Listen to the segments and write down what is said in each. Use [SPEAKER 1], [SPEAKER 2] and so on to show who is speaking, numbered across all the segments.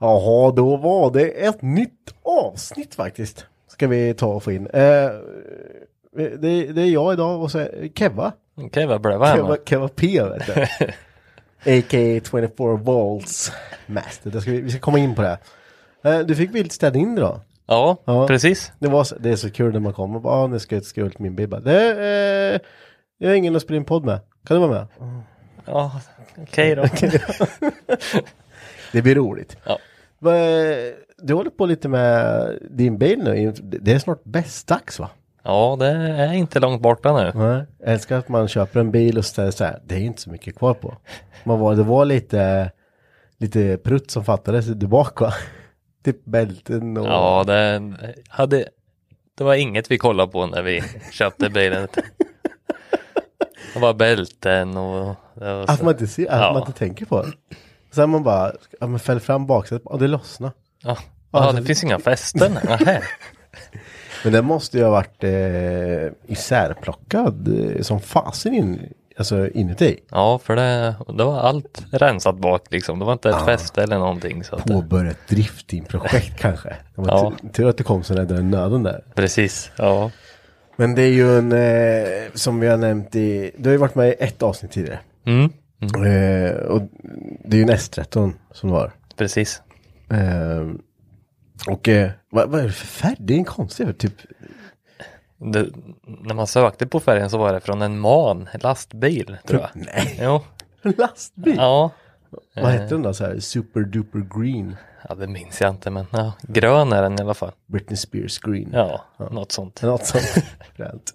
[SPEAKER 1] Jaha, då var det ett nytt avsnitt faktiskt. Ska vi ta och få in. Eh, det, det är jag idag och så är Keva.
[SPEAKER 2] Okej, vad bra. Vad är
[SPEAKER 1] Keva,
[SPEAKER 2] man?
[SPEAKER 1] Keva P vet du. A.k.a. 24 Volts Master. Det ska vi, vi ska komma in på det. här. Eh, du fick vilt städa in idag.
[SPEAKER 2] Ja,
[SPEAKER 1] Ja.
[SPEAKER 2] precis.
[SPEAKER 1] Det, var, så- det är så kul när man kommer och bara, ah, nu ska jag skriva ut min bibba. Det, eh, jag har ingen att spela in podd med. Kan du vara med?
[SPEAKER 2] Ja, okej då.
[SPEAKER 1] Det blir roligt.
[SPEAKER 2] Ja.
[SPEAKER 1] Va, eh, Du håller på lite med din bil nu. Det är snart bästdags va?
[SPEAKER 2] Ja, det är inte långt borta nu.
[SPEAKER 1] Nej. Jag älskar att man köper en bil och ställer så här. Det är inte så mycket kvar på. Man var, det var lite, lite prutt som fattades där bak va? Typ bälten och...
[SPEAKER 2] Ja, det hade... Det var inget vi kollade på när vi köpte bilen. Det var bälten och... det var så-
[SPEAKER 1] Att man inte, ser, att
[SPEAKER 2] Ja.
[SPEAKER 1] man inte tänker på det. Sen man bara, ja, men fäll fram baksätet, ja det lossnade.
[SPEAKER 2] Ja, alltså ja det finns inga fästen. Nähä.
[SPEAKER 1] Men den måste ju ha varit eh, isärplockad eh, som fasen in, alltså inuti.
[SPEAKER 2] Ja, för det, det var allt rensat bak liksom. Det var inte ett fäste eller någonting. Så att det,
[SPEAKER 1] Påbörja ett driftingprojekt kanske. Det var
[SPEAKER 2] Ja.
[SPEAKER 1] tur- tur att det kom så nära den nöden där.
[SPEAKER 2] precis, ja.
[SPEAKER 1] Men det är ju en, eh, som vi har nämnt i, du har ju varit med i ett avsnitt tidigare.
[SPEAKER 2] Mm,
[SPEAKER 1] Eh, och det är ju en S13 som du har.
[SPEAKER 2] precis.
[SPEAKER 1] Eh, och eh, vad, vad är det för färg? Det är en konstig typ.
[SPEAKER 2] Det, när man sökte på färgen så var det från en man, lastbil tror jag.
[SPEAKER 1] Nej,
[SPEAKER 2] Jo,
[SPEAKER 1] en lastbil.
[SPEAKER 2] ja.
[SPEAKER 1] Vad heter den då? Så här, super duper green.
[SPEAKER 2] Ja, det minns jag inte, men ja, grön är den i alla fall.
[SPEAKER 1] Britney Spears green.
[SPEAKER 2] Ja, något sånt.
[SPEAKER 1] Något sånt. Fränt.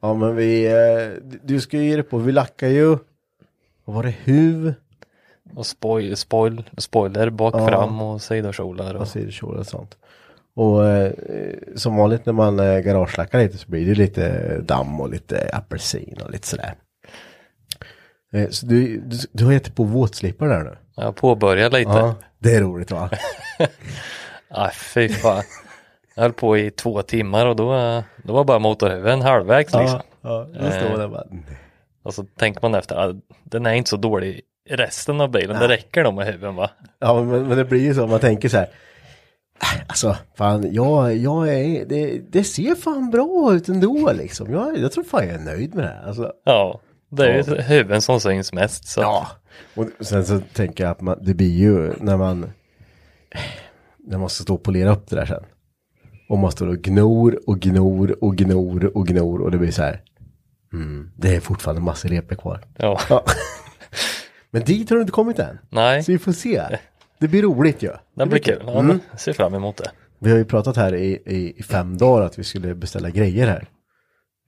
[SPEAKER 1] ja men vi, eh, du- du ska ju ge dig på, vi lackar ju. Vad var det? Huv?
[SPEAKER 2] Och spoil, spoil, spoiler bak
[SPEAKER 1] Ja.
[SPEAKER 2] fram och sidokjolar. Och,
[SPEAKER 1] och sidokjolar och sånt. Och eh, som vanligt när man eh, garagelackar lite så blir det lite damm och lite apelsin och lite sådär. Eh, så du, du, du har gett på våtslipar där nu.
[SPEAKER 2] jag påbörjar lite.
[SPEAKER 1] Ja, det är roligt va?
[SPEAKER 2] Ah, fy fan. Jag höll på i två timmar och då, eh, då var bara motorhuven halvvägs liksom.
[SPEAKER 1] ja, Eh. ja, då står man där bara. nej.
[SPEAKER 2] Och så tänker man efter, ah, den är inte så dålig i resten av bilen. Det räcker nog med huven va?
[SPEAKER 1] Ja, men, men det blir ju så, man tänker så här. "Äh, Alltså, fan, jag, jag är, det, det ser fan bra ut ändå liksom. Jag, jag tror fan jag är nöjd med det här. Alltså,
[SPEAKER 2] Ja, det är ju huven som syns mest. Så.
[SPEAKER 1] Ja, och sen så tänker jag att man, det blir ju när man när man ska stå och polera upp det där sen. Och man står och gnor och gnor och gnor och gnor och det blir så här. Mm, det är fortfarande massor repor kvar.
[SPEAKER 2] Ja.
[SPEAKER 1] Ja. Men dit har du inte kommit än.
[SPEAKER 2] Nej.
[SPEAKER 1] Så vi får se. Det blir roligt ju.
[SPEAKER 2] Det blir kul. Ja,
[SPEAKER 1] Mm.
[SPEAKER 2] jag Ser fram emot det.
[SPEAKER 1] Vi har ju pratat här i, i, i fem dagar att vi skulle beställa grejer här.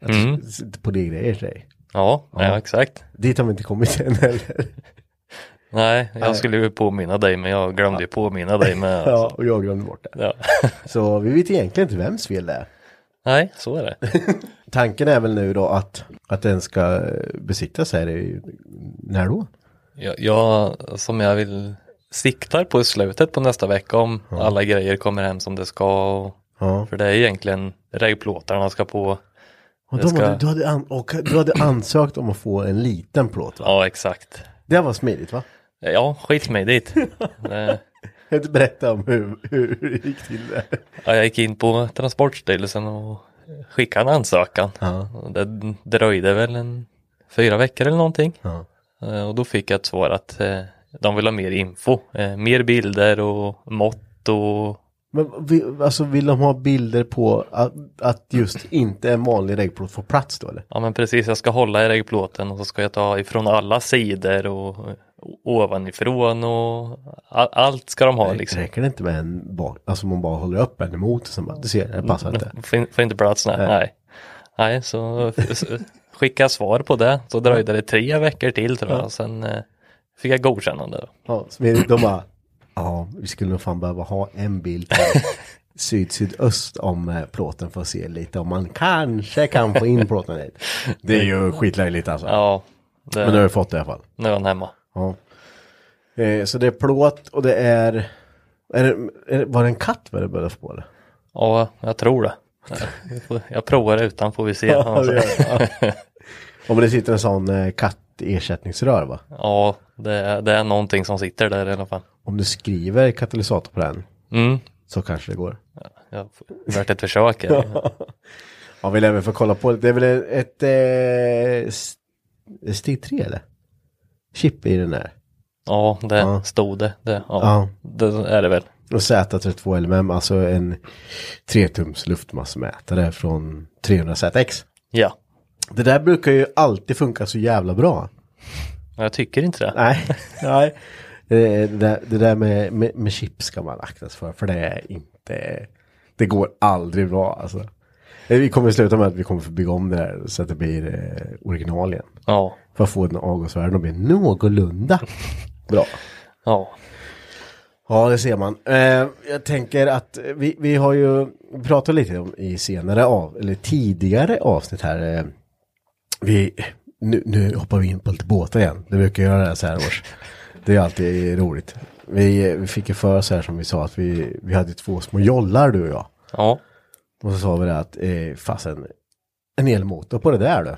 [SPEAKER 1] Att
[SPEAKER 2] Mm.
[SPEAKER 1] s- Polérgrejer till dig.
[SPEAKER 2] Ja, ja. exakt.
[SPEAKER 1] Dit har vi inte kommit än heller.
[SPEAKER 2] Nej, jag skulle ju påminna dig men jag glömde ju påminna dig med. Alltså.
[SPEAKER 1] Ja, och jag glömde bort det.
[SPEAKER 2] Ja.
[SPEAKER 1] Så vi vet egentligen inte vems fel det är.
[SPEAKER 2] Nej, så är det.
[SPEAKER 1] Tanken är väl nu då att, att den ska eh, besiktas här i, när då?
[SPEAKER 2] Jag, jag, som jag vill siktar på i slutet på nästa vecka om alla grejer kommer hem som det ska. Och,
[SPEAKER 1] Ja.
[SPEAKER 2] För det är egentligen rejplåtarna ska på.
[SPEAKER 1] Och
[SPEAKER 2] Det
[SPEAKER 1] de
[SPEAKER 2] ska-
[SPEAKER 1] hade, du, hade an, och, du hade ansökt om att få en liten plåt va?
[SPEAKER 2] Ja exakt.
[SPEAKER 1] Det var smidigt va?
[SPEAKER 2] Ja, skitsmidigt. Det-
[SPEAKER 1] Kan du inte berätta om hur, hur, hur det gick till där?
[SPEAKER 2] ja, jag gick in på Transportstyrelsen och skickade en ansökan. Och Det dröjde väl en fyra veckor eller någonting.
[SPEAKER 1] Ja.
[SPEAKER 2] Eh, Och då fick jag ett svar att eh, de vill ha mer info, eh, mer bilder och mått och
[SPEAKER 1] Men vi, alltså vill de ha bilder på att, att just inte en vanlig regplåt får plats då eller?
[SPEAKER 2] ja men precis jag ska hålla i regplåten och så ska jag ta ifrån alla sidor och eh, ovanifrån och a- allt ska de ha liksom.
[SPEAKER 1] Räcker det inte med en bak, alltså man bara håller upp en emot och sen bara, du ser, det här passar inte.
[SPEAKER 2] Fin- Får inte plats, nej. Nej, nej så s- skicka svar på det. Så dröjde det tre veckor till tror jag. Sen eh, fick jag godkännande. då.
[SPEAKER 1] Ja, smidigt. De bara, ja, vi skulle nog fan behöva ha en bild på syd-sydöst om eh, plåten för att se lite om man kanske kan få in plåten dit. Det är ju skitlöjligt alltså.
[SPEAKER 2] Ja, det,
[SPEAKER 1] Men nu har vi fått det i alla fall.
[SPEAKER 2] nu är han hemma.
[SPEAKER 1] Ja. Eh, så det är plåt och det är, är, det, är det, var det en katt vad det började få eller?
[SPEAKER 2] Ja, jag tror det. Jag får- Jag provar utan får vi se.
[SPEAKER 1] Ja, det
[SPEAKER 2] Alltså.
[SPEAKER 1] gör det. Ja. Ja, men det sitter en sån eh, kattersättningsrör va?
[SPEAKER 2] Ja, det, är- det är någonting som sitter där i alla fall.
[SPEAKER 1] Om du skriver katalysator på den
[SPEAKER 2] Mm,
[SPEAKER 1] så kanske det går.
[SPEAKER 2] jag har värt ett försök. här.
[SPEAKER 1] Ja, vi lär väl få kolla på det. Det är väl ett, eh, s- steg 3 eller? Chip i den där.
[SPEAKER 2] Ja, det
[SPEAKER 1] Ja.
[SPEAKER 2] stod det. det ja.
[SPEAKER 1] Ja.
[SPEAKER 2] det är det väl.
[SPEAKER 1] Och Z32LMM, alltså en 3-tums luftmassmätare från 300ZX.
[SPEAKER 2] Ja,
[SPEAKER 1] Det där brukar ju alltid funka så jävla bra.
[SPEAKER 2] men jag tycker inte det.
[SPEAKER 1] Nej, nej. Det, det, det där med, med, med chips ska man akta sig för, för det är inte, det går aldrig bra alltså. Eh, Vi kommer sluta med att vi kommer få bygga om det där så att det blir eh, original igen.
[SPEAKER 2] Ja,
[SPEAKER 1] För att få den avgångsvärden att bli någorlunda bra.
[SPEAKER 2] ja,
[SPEAKER 1] Ja, det ser man. Eh, jag tänker att vi, vi har ju pratat lite om i senare av, eller tidigare avsnitt här. Eh, vi, nu, nu hoppar vi in på lite båtar igen. Det brukar jag göra så här års. Det är alltid roligt. Vi, vi fick ju för oss här som vi sa att vi, vi hade två små jollar du och jag.
[SPEAKER 2] ja,
[SPEAKER 1] Och så sa vi det att eh, fasen, en elmotor på det där du.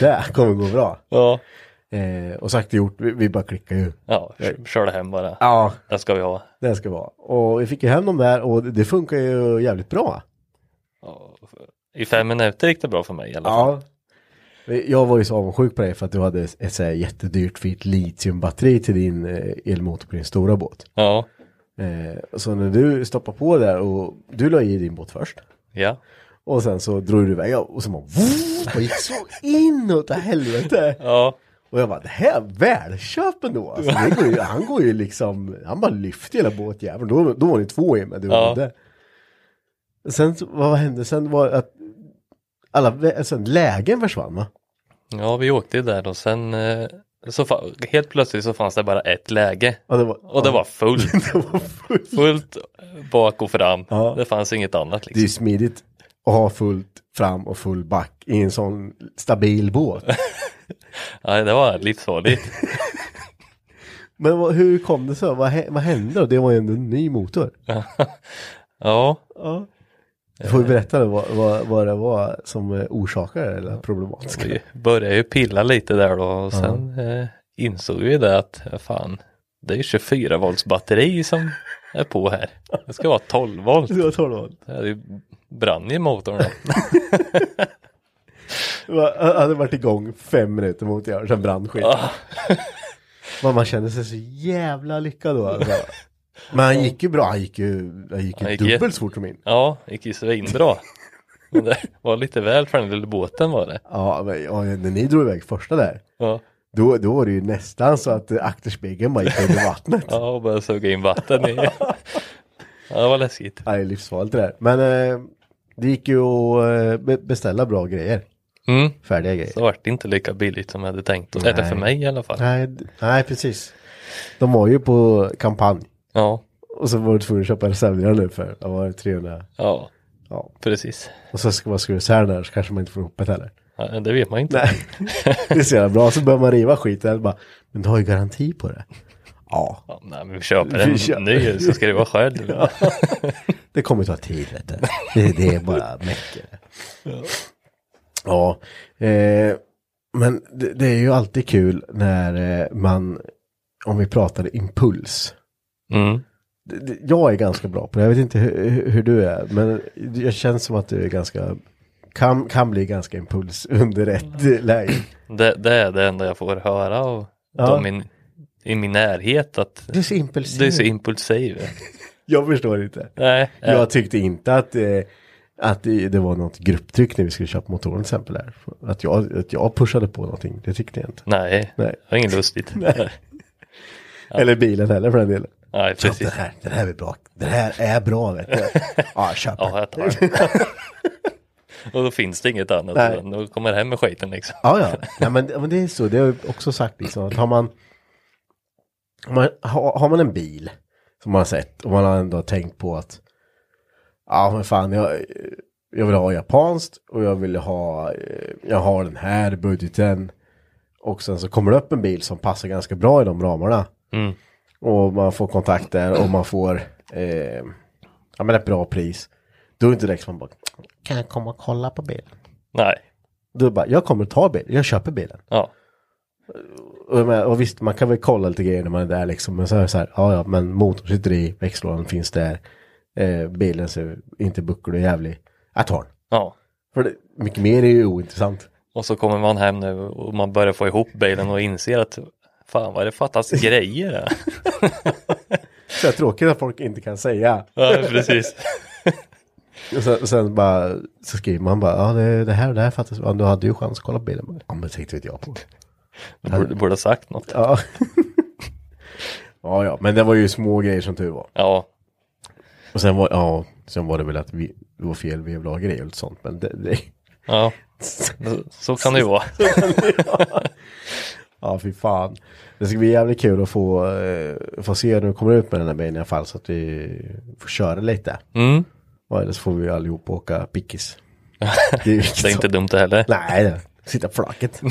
[SPEAKER 1] Det kommer gå bra.
[SPEAKER 2] ja,
[SPEAKER 1] Eh, och sagt och gjort, vi, vi bara klickar ju.
[SPEAKER 2] ja, kör- kör det hem bara.
[SPEAKER 1] Ja,
[SPEAKER 2] Det ska vi ha.
[SPEAKER 1] det ska vara. Och vi fick ju hem dem där och det- det funkar ju jävligt bra.
[SPEAKER 2] I fem minuter gick det bra för mig i alla fall.
[SPEAKER 1] Ja. Jag var ju så avundsjuk på dig för att du hade ett så här jättedyrt fint litiumbatteri till din eh, elmotor på din stora båt.
[SPEAKER 2] Ja,
[SPEAKER 1] Eh, Så när du stoppade på där och du la i din båt först.
[SPEAKER 2] ja,
[SPEAKER 1] Och sen så drog du iväg och så bara, vroom, och gick så inåt i helvete.
[SPEAKER 2] ja,
[SPEAKER 1] Och jag bara, det här är välköp ändå. Alltså, det går ju, han går ju liksom, han bara lyfter hela båtjäveln. Då, då var ni två i med du
[SPEAKER 2] Ja.
[SPEAKER 1] och det. Sen, så- vad hände sen var att alla, vä- alltså, lägen försvann va?
[SPEAKER 2] ja, vi åkte ju där och sen eh, så fa- helt plötsligt så fanns det bara ett läge
[SPEAKER 1] Ja, det var,
[SPEAKER 2] och det var fullt,
[SPEAKER 1] det var fullt.
[SPEAKER 2] fullt bak och fram.
[SPEAKER 1] Ja.
[SPEAKER 2] Det fanns inget annat
[SPEAKER 1] Det är ju
[SPEAKER 2] liksom.
[SPEAKER 1] smidigt att ha fullt fram och full back i en sån stabil båt.
[SPEAKER 2] Nej, det var livsfarligt.
[SPEAKER 1] Men vad, hur kom det så? Vad, hä- vad hände? då? Det var ju ändå en ny motor.
[SPEAKER 2] Ja,
[SPEAKER 1] Du får ju berätta då vad, vad, vad det var som eh, orsakade det eller problematiska.
[SPEAKER 2] vi började ju pilla lite där då och sen eh, insåg vi det att fan, det är ju 24 volts batteri som är på här. Det ska vara 12 volt.
[SPEAKER 1] Det var 12 volt.
[SPEAKER 2] Det hade ju- brann i motorn då.
[SPEAKER 1] Det var- Han hade varit igång fem minuter mot jag, sen brann skit.
[SPEAKER 2] Ah.
[SPEAKER 1] Men man kände sig så jävla lyckad då. Alltså. Men han gick ju bra, han gick ju, han gick ju
[SPEAKER 2] Han gick
[SPEAKER 1] dubbelt
[SPEAKER 2] jätte-
[SPEAKER 1] så fort som in.
[SPEAKER 2] Ja, gick ju svinbra. Men det var lite väl för den lilla båten var det.
[SPEAKER 1] Ja, men, ja, när ni drog iväg första där,
[SPEAKER 2] Ja,
[SPEAKER 1] då, då var det ju nästan så att eh, akterspegeln bara gick under vattnet.
[SPEAKER 2] ja och började suga in vatten i. Ja, det var läskigt.
[SPEAKER 1] Ja, det är livsfarligt det där. Men eh, det gick ju att eh, be- beställa bra grejer,
[SPEAKER 2] Mm.
[SPEAKER 1] färdiga grejer.
[SPEAKER 2] Så vart det inte lika billigt som jag hade tänkt. Eller för mig i alla fall.
[SPEAKER 1] Nej, d- nej, precis. De var ju på kampanj.
[SPEAKER 2] Ja,
[SPEAKER 1] Och så var du tvungen att köpa reservdelar nu för, vad var det, 300?
[SPEAKER 2] ja,
[SPEAKER 1] Ja,
[SPEAKER 2] precis.
[SPEAKER 1] Och så ska man skruva isär den här så kanske man inte får ihop det heller.
[SPEAKER 2] Ja, det vet man ju inte.
[SPEAKER 1] Nej. Det är så jävla bra. Så börjar man riva skiten. Bara, men du har ju garanti på det. Ja,
[SPEAKER 2] Ja, nej, men vi köper en
[SPEAKER 1] Vi köper.
[SPEAKER 2] ny så ska det vara själv.
[SPEAKER 1] det kommer ta tid vet du. Det, det är bara mäcker. Ja, eh, men det, det är ju alltid kul när eh, man, om vi pratar impuls.
[SPEAKER 2] Mm.
[SPEAKER 1] Det- det- Jag är ganska bra på det, jag vet inte hur, hur- hur du är, men jag känns som att du är ganska, kan, kan bli ganska impuls under ett
[SPEAKER 2] Mm.
[SPEAKER 1] eh, läge.
[SPEAKER 2] Det, det är det enda jag får höra av
[SPEAKER 1] Ja.
[SPEAKER 2] de min, i min närhet att
[SPEAKER 1] Du är så impulsiv.
[SPEAKER 2] du är så impulsiv.
[SPEAKER 1] Jag förstår inte.
[SPEAKER 2] nej, eh,
[SPEAKER 1] Jag tyckte inte att, eh, att det det var något grupptryck när vi skulle köpa motorn till exempel. Där. Att, jag, att jag pushade på någonting, det tyckte jag inte.
[SPEAKER 2] nej,
[SPEAKER 1] Nej.
[SPEAKER 2] det var inget lustigt. nej.
[SPEAKER 1] Eller bilen heller för den delen. Köp
[SPEAKER 2] precis.
[SPEAKER 1] den här, den här är bra. Den här är bra vet du. Ja, köp den.
[SPEAKER 2] Ja, jag tar den. Och då finns det inget annat.
[SPEAKER 1] Nej.
[SPEAKER 2] utan Då kommer det hem med skiten liksom.
[SPEAKER 1] Ja, ja. Nej, men, men det är så. Det har jag också sagt liksom. Att har man, om man, har, har man en bil som man har sett och man har ändå tänkt på att ja, men fan, jag, jag vill ha japanskt och jag vill ha, eh, jag har den här budgeten. Och sen så kommer det upp en bil som passar ganska bra i de ramarna. Och man får kontakter och man får eh, ja, men ett bra pris. Då är det inte direkt som man bara, kan jag komma och kolla på bilen?
[SPEAKER 2] Nej,
[SPEAKER 1] Då är det bara, jag kommer ta bilen, jag köper bilen.
[SPEAKER 2] ja.
[SPEAKER 1] Och, jag menar, och visst, man kan väl kolla lite grejer när man är där liksom. Men så är det så här, ja ja, men motorn sitter i, växellådan finns där. Eh, bilen ser inte bucklig och jävlig. Jag tar den.
[SPEAKER 2] ja.
[SPEAKER 1] För det, mycket mer är ju ointressant.
[SPEAKER 2] Och så kommer man hem nu och man börjar få ihop bilen och inser att fan vad det fattas grejer här.
[SPEAKER 1] Så här tråkigt att folk inte kan säga.
[SPEAKER 2] Ja, precis.
[SPEAKER 1] Och sen, och sen bara, så skriver man bara, ja det, det här och det här fattas. Ja, du hade ju chans att kolla på bilen. Bara, Ja, men tänkte inte jag på.
[SPEAKER 2] Du borde, borde ha sagt något.
[SPEAKER 1] Ja. ja, ja, men det var ju små grejer som tur var.
[SPEAKER 2] Ja,
[SPEAKER 1] Och sen var, ja, sen var det väl att vi, det var fel vevlager i och lite sånt. Men det, det,
[SPEAKER 2] ja. Så kan det ju vara.
[SPEAKER 1] Ja, fy fan. Det ska bli jävligt kul att få, eh, få se när du kommer ut med den här bilen i alla fall så att vi får köra lite.
[SPEAKER 2] Mm.
[SPEAKER 1] Och eller så får vi allihop åka pickis. Det är, ju
[SPEAKER 2] Det är inte dumt det heller.
[SPEAKER 1] Nej, det- sitta flaket.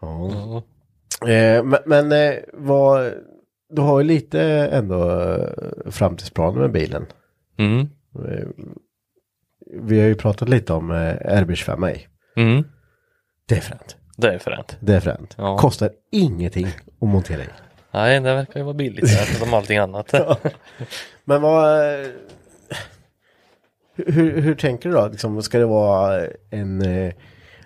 [SPEAKER 1] ja. Eh, men men eh, vad, du har ju lite ändå eh, framtidsplaner med bilen.
[SPEAKER 2] Mm.
[SPEAKER 1] Eh, vi har ju pratat lite om eh, RB25i.
[SPEAKER 2] Mm.
[SPEAKER 1] Det är fränt.
[SPEAKER 2] Det är fränt.
[SPEAKER 1] Det är fränt.
[SPEAKER 2] Ja.
[SPEAKER 1] Kostar ingenting att montera i.
[SPEAKER 2] Nej, det verkar ju vara billigt här, som allting annat.
[SPEAKER 1] Men vad... eh, Hur, hur tänker du då? Liksom, ska det vara en eh,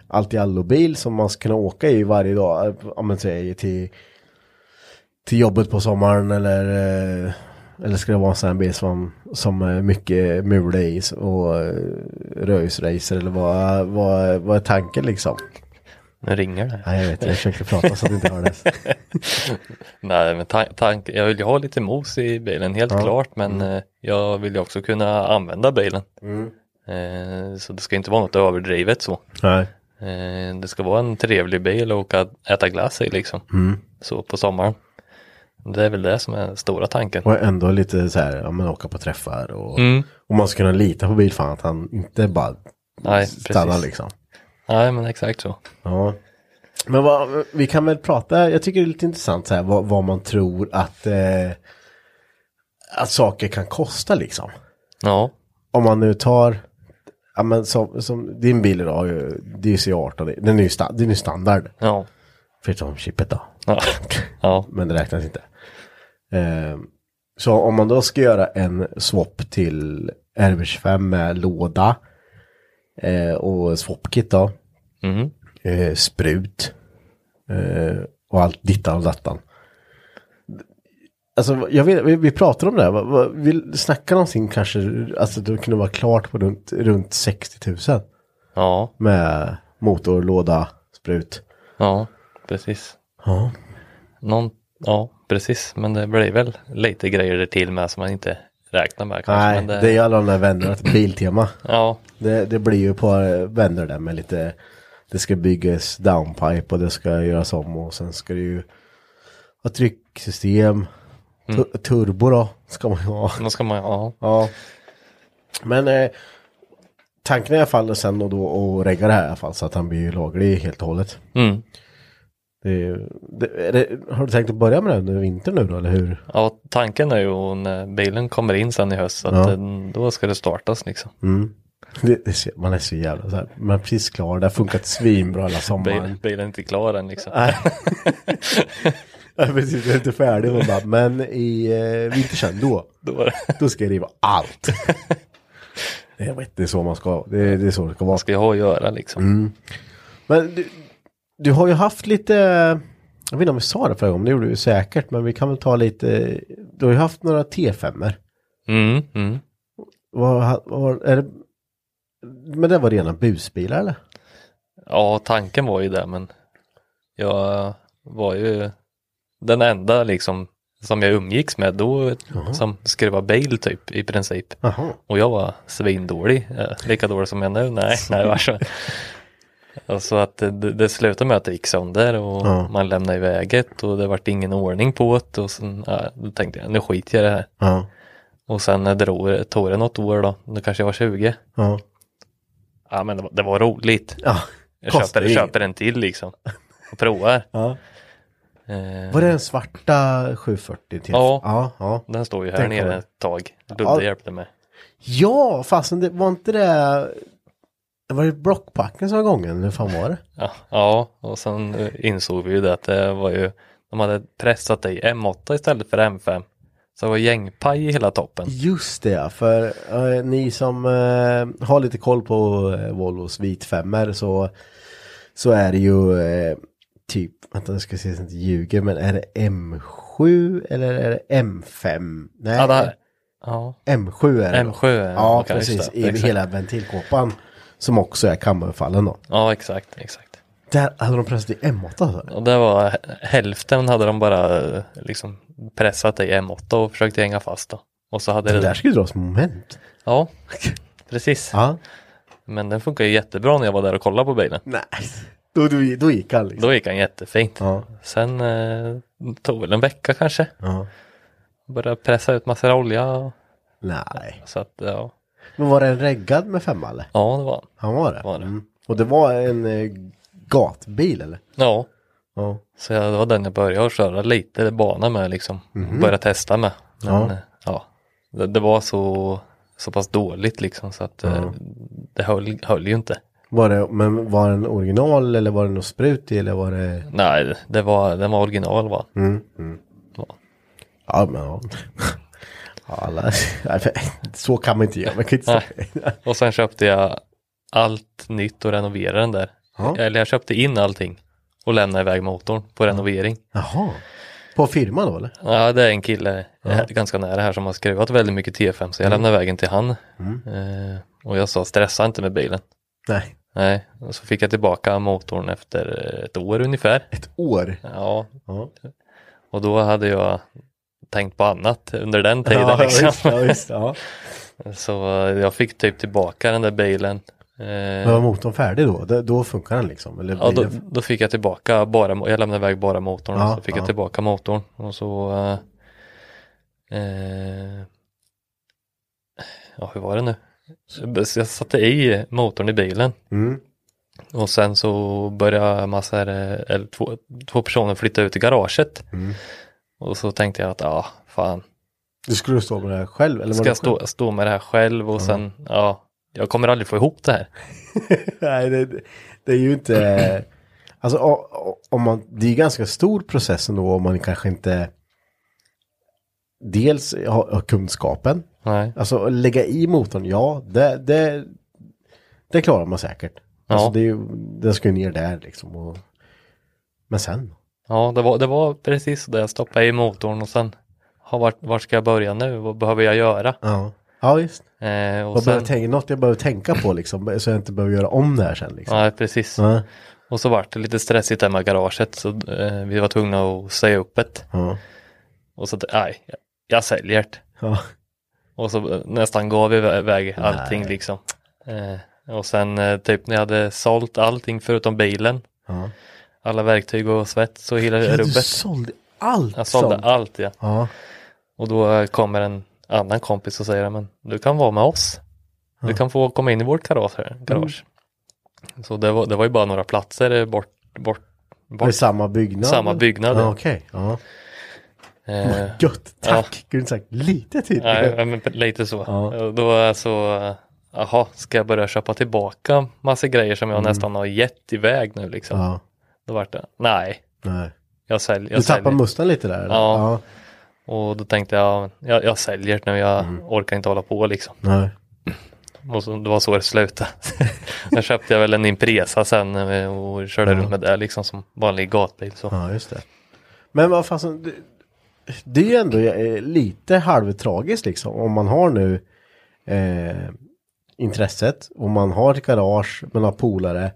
[SPEAKER 1] allt-i-allo-bil som man ska kunna åka i varje dag? Eh, Om man säger till, till jobbet på sommaren eller... eh, Eller ska det vara en sån här bil som, som är mycket mula i och eh, röjsracer eller vad, vad, vad är tanken liksom?
[SPEAKER 2] Nu ringer det.
[SPEAKER 1] Nej jag vet, jag försöker prata så att det inte hördes.
[SPEAKER 2] Nej, men tan- tank- jag vill ju ha lite mos i bilen, helt klart. Men
[SPEAKER 1] Mm.
[SPEAKER 2] eh, jag vill ju också kunna använda bilen. Eh, så det ska inte vara något överdrivet så.
[SPEAKER 1] Nej.
[SPEAKER 2] Eh, det ska vara en trevlig bil och åka, äta glass i liksom.
[SPEAKER 1] Mm.
[SPEAKER 2] Så på sommaren. Det är väl det som är den stora tanken.
[SPEAKER 1] Och ändå lite så här, ja men åka på träffar och,
[SPEAKER 2] Mm.
[SPEAKER 1] och man ska kunna lita på bilfan att han inte bara
[SPEAKER 2] Nej,
[SPEAKER 1] stannar
[SPEAKER 2] precis.
[SPEAKER 1] liksom.
[SPEAKER 2] Nej, men exakt så.
[SPEAKER 1] Ja. Men vad, vi kan väl prata, jag tycker det är lite intressant så här vad, vad man tror att, eh, att saker kan kosta liksom.
[SPEAKER 2] Ja,
[SPEAKER 1] Om man nu tar, ja men som, som din bil idag, har ju- det är ju C18, den är ju, sta, den är ju standard.
[SPEAKER 2] ja,
[SPEAKER 1] Förutom chippet då.
[SPEAKER 2] ja, ja,
[SPEAKER 1] men det räknas inte. Eh, så om man då ska göra en swap till RB25 med låda eh, och swapkit då,
[SPEAKER 2] mm.
[SPEAKER 1] eh, sprut eh, och allt dittan och dattan. Alltså, jag vet, vi, vi pratade om det här, va- va- vi snackade någonting kanske, alltså det kunde vara klart på runt, runt 60 000
[SPEAKER 2] ja,
[SPEAKER 1] med motor, låda, sprut.
[SPEAKER 2] ja, precis.
[SPEAKER 1] Ja,
[SPEAKER 2] Någon, ja, precis. Men det blir väl lite grejer där till med som man inte räknar med kanske.
[SPEAKER 1] nej,
[SPEAKER 2] men det,
[SPEAKER 1] det är ju alla de där vännerna till Biltema.
[SPEAKER 2] Ja,
[SPEAKER 1] Det, det blir ju ett par vändor där med lite Det ska byggas downpipe och det ska göras om och sen ska det ju ha trycksystem tu- Turbo då ska man ju ha.
[SPEAKER 2] då ska man, ja,
[SPEAKER 1] Ja. Men eh, tanken är i alla fall sen och då att regga det här i alla fall så att han blir laglig helt och hållet.
[SPEAKER 2] mm.
[SPEAKER 1] Det är ju, det, är det, har du tänkt att börja med det här under vintern nu då, eller hur?
[SPEAKER 2] Ja, tanken är ju när bilen kommer in sen i höst så att den, då ska det startas liksom.
[SPEAKER 1] Det, det, ser- man är så jävla så här, man är precis klar, det har funkat svinbra hela sommaren.
[SPEAKER 2] Bilen, bilen är inte klar än liksom.
[SPEAKER 1] Nej. Jag är precis, jag är inte färdig, men, bara, men i eh, vintersen då,
[SPEAKER 2] Då är det.
[SPEAKER 1] då ska jag riva allt. Jag vet, det är så man ska, det är, det är så det ska vara.
[SPEAKER 2] Vad ska jag ha att göra liksom?
[SPEAKER 1] Men du, du har ju haft lite, jag vet inte om vi sa det förra gången, det gjorde du säkert, men vi kan väl ta lite, du har ju haft några T5-er.
[SPEAKER 2] Mm, mm.
[SPEAKER 1] Vad, ha- vad, var- är det, men det var rena busbilar eller?
[SPEAKER 2] Ja, tanken var ju det, men jag var ju den enda liksom som jag umgicks med då som skrev bil typ i princip.
[SPEAKER 1] Jaha.
[SPEAKER 2] Och jag var svindålig, eh, lika dålig som jag är nu. Nej, nej varså. Och så att det, det slutade med att det gick sönder och
[SPEAKER 1] Ja.
[SPEAKER 2] man lämnade iväg ett och det vart ingen ordning på det och sen ja, då tänkte jag nu skiter jag i det här.
[SPEAKER 1] Ja.
[SPEAKER 2] Och sen eh, drog, tog det något år då, nu kanske jag var 20.
[SPEAKER 1] Ja.
[SPEAKER 2] Ja men det var, det var roligt.
[SPEAKER 1] ja.
[SPEAKER 2] Jag
[SPEAKER 1] Kostar
[SPEAKER 2] köper,
[SPEAKER 1] ju
[SPEAKER 2] köper en till liksom. Och provar.
[SPEAKER 1] Ja.
[SPEAKER 2] Eh,
[SPEAKER 1] Var det den svarta 740 till?
[SPEAKER 2] Ja.
[SPEAKER 1] Ja, ja.
[SPEAKER 2] Den står ju här
[SPEAKER 1] Den
[SPEAKER 2] nere
[SPEAKER 1] kommer.
[SPEAKER 2] ett tag. Ludde
[SPEAKER 1] Ja.
[SPEAKER 2] hjälpte mig.
[SPEAKER 1] ja fasen det var inte det, det var ju blockpacken som var gången, eller hur fan var det?
[SPEAKER 2] Ja, ja, och sen eh, insåg vi ju det att det var ju, de hade pressat dig M8 istället för M5. Så det var gängpaj i hela toppen.
[SPEAKER 1] Just det, ja, för eh, ni som eh, har lite koll på eh, Volvos vitfemmor så, så är det ju eh, typ, vänta nu ska jag se så jag inte ljuger, men är det M7 eller är det M5? Nej,
[SPEAKER 2] Ja, det här, ja,
[SPEAKER 1] M7 är det. då.
[SPEAKER 2] M7 är det.
[SPEAKER 1] Ja,
[SPEAKER 2] Okej, just
[SPEAKER 1] precis,
[SPEAKER 2] det.
[SPEAKER 1] i
[SPEAKER 2] Exakt.
[SPEAKER 1] hela ventilkåpan som också är kammarfallen då.
[SPEAKER 2] ja exakt, exakt.
[SPEAKER 1] Där hade de plötsligt M8 alltså.
[SPEAKER 2] Och det var h- hälften hade de bara eh, liksom pressat dig M8 och försökt hänga fast då. Och så hade
[SPEAKER 1] Det
[SPEAKER 2] det,
[SPEAKER 1] där ska ju dras moment.
[SPEAKER 2] Ja, precis.
[SPEAKER 1] Ja.
[SPEAKER 2] Men den funkar ju jättebra när jag var där och kollade på bilen.
[SPEAKER 1] Nej, då, då, då gick han liksom.
[SPEAKER 2] Då gick han jättefint.
[SPEAKER 1] Ja.
[SPEAKER 2] Sen eh, tog väl en vecka kanske.
[SPEAKER 1] Ja.
[SPEAKER 2] Började pressa ut massor av olja. och-
[SPEAKER 1] Nej.
[SPEAKER 2] Så att ja,
[SPEAKER 1] Men var den reggad med femma eller?
[SPEAKER 2] ja det var han.
[SPEAKER 1] Han var det?
[SPEAKER 2] Var det.
[SPEAKER 1] Mm. Och det var en eh, gatbil eller?
[SPEAKER 2] Ja,
[SPEAKER 1] Ja.
[SPEAKER 2] så jag, det var den jag började köra lite bana med liksom. Började testa med. Men,
[SPEAKER 1] Mhm. Ja.
[SPEAKER 2] ja. ja det, det var så, så pass dåligt liksom så att eh, det höll, höll ju inte.
[SPEAKER 1] Var det, men var den original eller var det något sprut i eller var det?
[SPEAKER 2] Nej, det var, den var original va?
[SPEAKER 1] Ja men ja. Ja, Alla, Nej, men så kan man inte göra. Man kan inte säga.
[SPEAKER 2] Och sen köpte jag allt nytt och renoverade den där.
[SPEAKER 1] Ja.
[SPEAKER 2] Eller jag köpte in allting och lämnade iväg motorn på renovering.
[SPEAKER 1] Jaha. På firman då eller?
[SPEAKER 2] Ja, det är en kille här- ganska nära här som har skruvat väldigt mycket T5 så jag
[SPEAKER 1] Mm.
[SPEAKER 2] lämnade vägen till han. Eh, och jag sa stressa inte med bilen.
[SPEAKER 1] Nej.
[SPEAKER 2] Nej, och så fick jag tillbaka motorn efter eh, ett år ungefär.
[SPEAKER 1] Ett år.
[SPEAKER 2] Ja,
[SPEAKER 1] Ja.
[SPEAKER 2] och då hade jag tänkt på annat under den tiden
[SPEAKER 1] ja,
[SPEAKER 2] liksom.
[SPEAKER 1] visst, ja, visst, ja.
[SPEAKER 2] Så eh, jag fick typ tillbaka den där bilen. Eh,
[SPEAKER 1] Men var motorn färdig då? Då- då funkar den liksom? Eller
[SPEAKER 2] Ja,
[SPEAKER 1] blir
[SPEAKER 2] då,
[SPEAKER 1] det-
[SPEAKER 2] då fick jag tillbaka bara, mo- jag lämnade iväg bara motorn
[SPEAKER 1] Ja,
[SPEAKER 2] och så fick
[SPEAKER 1] ja.
[SPEAKER 2] jag tillbaka motorn och så eh, eh, Ja, hur var det nu? Så Jag satte i motorn i bilen
[SPEAKER 1] Mm.
[SPEAKER 2] och sen så började massa, eller två, två personer flytta ut i garaget.
[SPEAKER 1] Mm.
[SPEAKER 2] Och så tänkte jag att, ja, fan,
[SPEAKER 1] Du skulle stå med det här själv? Eller var
[SPEAKER 2] ska
[SPEAKER 1] det
[SPEAKER 2] jag stå, stå med det här själv och sen, ja, jag kommer aldrig få ihop det här.
[SPEAKER 1] Nej, det, det är ju inte... Alltså, o- o- om man, det är ganska stor process ändå om man kanske inte... Dels har, har kunskapen.
[SPEAKER 2] Nej,
[SPEAKER 1] Alltså lägga i motorn, ja, det, det, det klarar man säkert. Alltså,
[SPEAKER 2] Ja.
[SPEAKER 1] det är ju, den ska ju ner där liksom. Och, men sen?
[SPEAKER 2] ja, det var, det var precis det, jag stoppade i motorn och sen, ja, vart, vart ska jag börja nu? Vad behöver jag göra?
[SPEAKER 1] Ja, ja visst.
[SPEAKER 2] Eh, och
[SPEAKER 1] Jag
[SPEAKER 2] sen,
[SPEAKER 1] behöver tänka, något jag behöver tänka på liksom, så jag inte behöver göra om det här sen liksom.
[SPEAKER 2] nej, precis.
[SPEAKER 1] Ja.
[SPEAKER 2] Och så vart det lite stressigt där med garaget så eh, vi var tvungna att säga upp det.
[SPEAKER 1] Ja.
[SPEAKER 2] Och så, nej, jag, jag säljer det.
[SPEAKER 1] Ja.
[SPEAKER 2] Och så eh, nästan gav vi iväg- iväg allting
[SPEAKER 1] Nej.
[SPEAKER 2] liksom. Eh, och sen eh, typ när jag hade sålt allting förutom bilen,
[SPEAKER 1] Ja.
[SPEAKER 2] alla verktyg och svets och hela
[SPEAKER 1] Ja, Du
[SPEAKER 2] rubbet.
[SPEAKER 1] sålde allt
[SPEAKER 2] Jag sålde
[SPEAKER 1] sånt.
[SPEAKER 2] allt ja.
[SPEAKER 1] Ja.
[SPEAKER 2] Och då eh, kommer en annan kompis och säger, men du kan vara med oss. Du kan få komma
[SPEAKER 1] Mm.
[SPEAKER 2] in i vårt garage. här, garage. Så det var, det var ju bara några platser eh, bort, bort
[SPEAKER 1] Var det samma byggnad?
[SPEAKER 2] Samma byggnad,
[SPEAKER 1] Ja,
[SPEAKER 2] ja.
[SPEAKER 1] okej. Ja.
[SPEAKER 2] Eh,
[SPEAKER 1] Gött, tack! Kunde inte sagt lite typ.
[SPEAKER 2] Nej,
[SPEAKER 1] tydligare.
[SPEAKER 2] ja, men lite så. Och Då är jag så, eh, jaha, ska jag börja köpa tillbaka massa grejer som jag nästan har gett iväg nu liksom?
[SPEAKER 1] Mm. Ja,
[SPEAKER 2] Då vart det, nej,
[SPEAKER 1] nej.
[SPEAKER 2] jag, sälj,
[SPEAKER 1] Du
[SPEAKER 2] jag
[SPEAKER 1] tappar
[SPEAKER 2] säljer.
[SPEAKER 1] mustan lite där? eller?
[SPEAKER 2] Ja. Och då tänkte jag, jag, jag säljer nu, jag
[SPEAKER 1] Mm.
[SPEAKER 2] orkar inte hålla på liksom.
[SPEAKER 1] Nej.
[SPEAKER 2] Och så, det var så det slutade. Sen köpte jag väl en Impresa sen eh, och körde runt med det liksom som vanlig gatbil. Så.
[SPEAKER 1] Ja, just det. Men vad fasen, det, det är ju ändå eh, lite halvtragiskt liksom. Om man har nu eh, intresset och man har ett garage, man har polare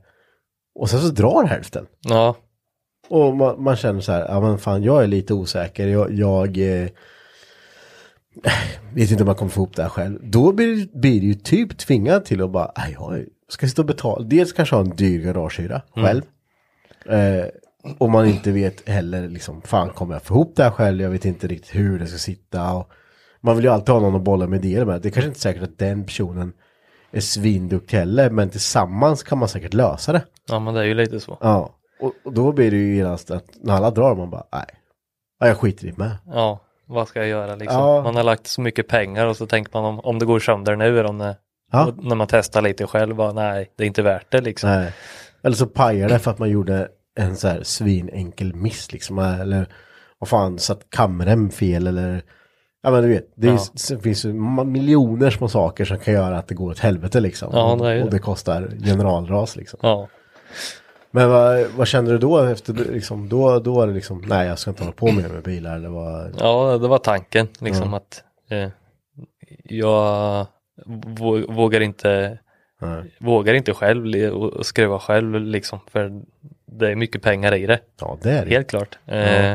[SPEAKER 1] och sen så drar hälften.
[SPEAKER 2] Ja,
[SPEAKER 1] Och man, man känner så här, ja men fan jag är lite osäker, jag, jag eh, vet inte om jag kommer få ihop det här själv. Då blir, blir du ju typ tvingad till att bara, "Aj, jag ska sitta och betala, dels kanske ha en dyr garagehyra själv. Eh, och man inte vet heller liksom, fan kommer jag få ihop det här själv, jag vet inte riktigt hur det ska sitta. Och man vill ju alltid ha någon att bolla med idéer med, det är kanske inte säkert att den personen är svinduktig heller, men tillsammans kan man säkert lösa det.
[SPEAKER 2] ja, men det är ju lite så.
[SPEAKER 1] Ja, och, och då blir det ju genast att när alla drar man bara nej. Ja, jag skiter i det med.
[SPEAKER 2] Ja, vad ska jag göra liksom?
[SPEAKER 1] Ja.
[SPEAKER 2] Man har lagt så mycket pengar och så tänker man om, om det går sönder nu eller om det,
[SPEAKER 1] Ja.
[SPEAKER 2] och när man testar lite själv, bara, nej, det är inte värt det liksom.
[SPEAKER 1] Nej. Eller så pajar det för att man gjorde en så här svinenkel miss liksom. Eller vad fan, satt kameran fel eller Ja men du vet, det, är,
[SPEAKER 2] Ja.
[SPEAKER 1] det finns ju ma- miljoner små saker som kan göra att det går åt helvete liksom.
[SPEAKER 2] Ja, det är ju
[SPEAKER 1] och
[SPEAKER 2] det.
[SPEAKER 1] det kostar generalras liksom.
[SPEAKER 2] Ja,
[SPEAKER 1] Men vad, vad kände du då efter, liksom, då, då var det liksom, nej jag ska inte hålla på med, det med bilar eller vad,
[SPEAKER 2] ja det var tanken liksom att eh, jag vå- vågar inte
[SPEAKER 1] nej.
[SPEAKER 2] vågar inte själv li- och och skruva själv liksom för det är mycket pengar i det,
[SPEAKER 1] ja Mm. det är det.
[SPEAKER 2] helt klart. Eh,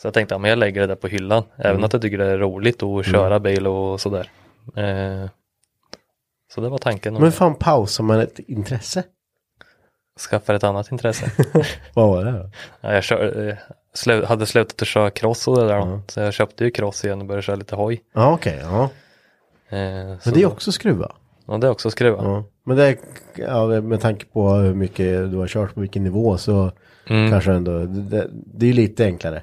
[SPEAKER 2] så jag tänkte, ja, men jag lägger det där på hyllan, även att jag tycker det är roligt att köra
[SPEAKER 1] Mm.
[SPEAKER 2] bil och sådär. Eh, så det var tanken.
[SPEAKER 1] Men fan pausar man ett intresse?
[SPEAKER 2] skaffar ett annat intresse.
[SPEAKER 1] Vad var det då?
[SPEAKER 2] ja, jag kör, eh, slu, hade slutat att köra cross och det där då. så jag köpte ju cross igen och började köra lite hoj.
[SPEAKER 1] Ja okej, ja.
[SPEAKER 2] Eh, så,
[SPEAKER 1] Men det är också skruva.
[SPEAKER 2] ja, det är också skruva.
[SPEAKER 1] Ja. Men det är, ja, med tanke på hur mycket du har kört på vilken nivå så kanske ändå, det, det är lite enklare.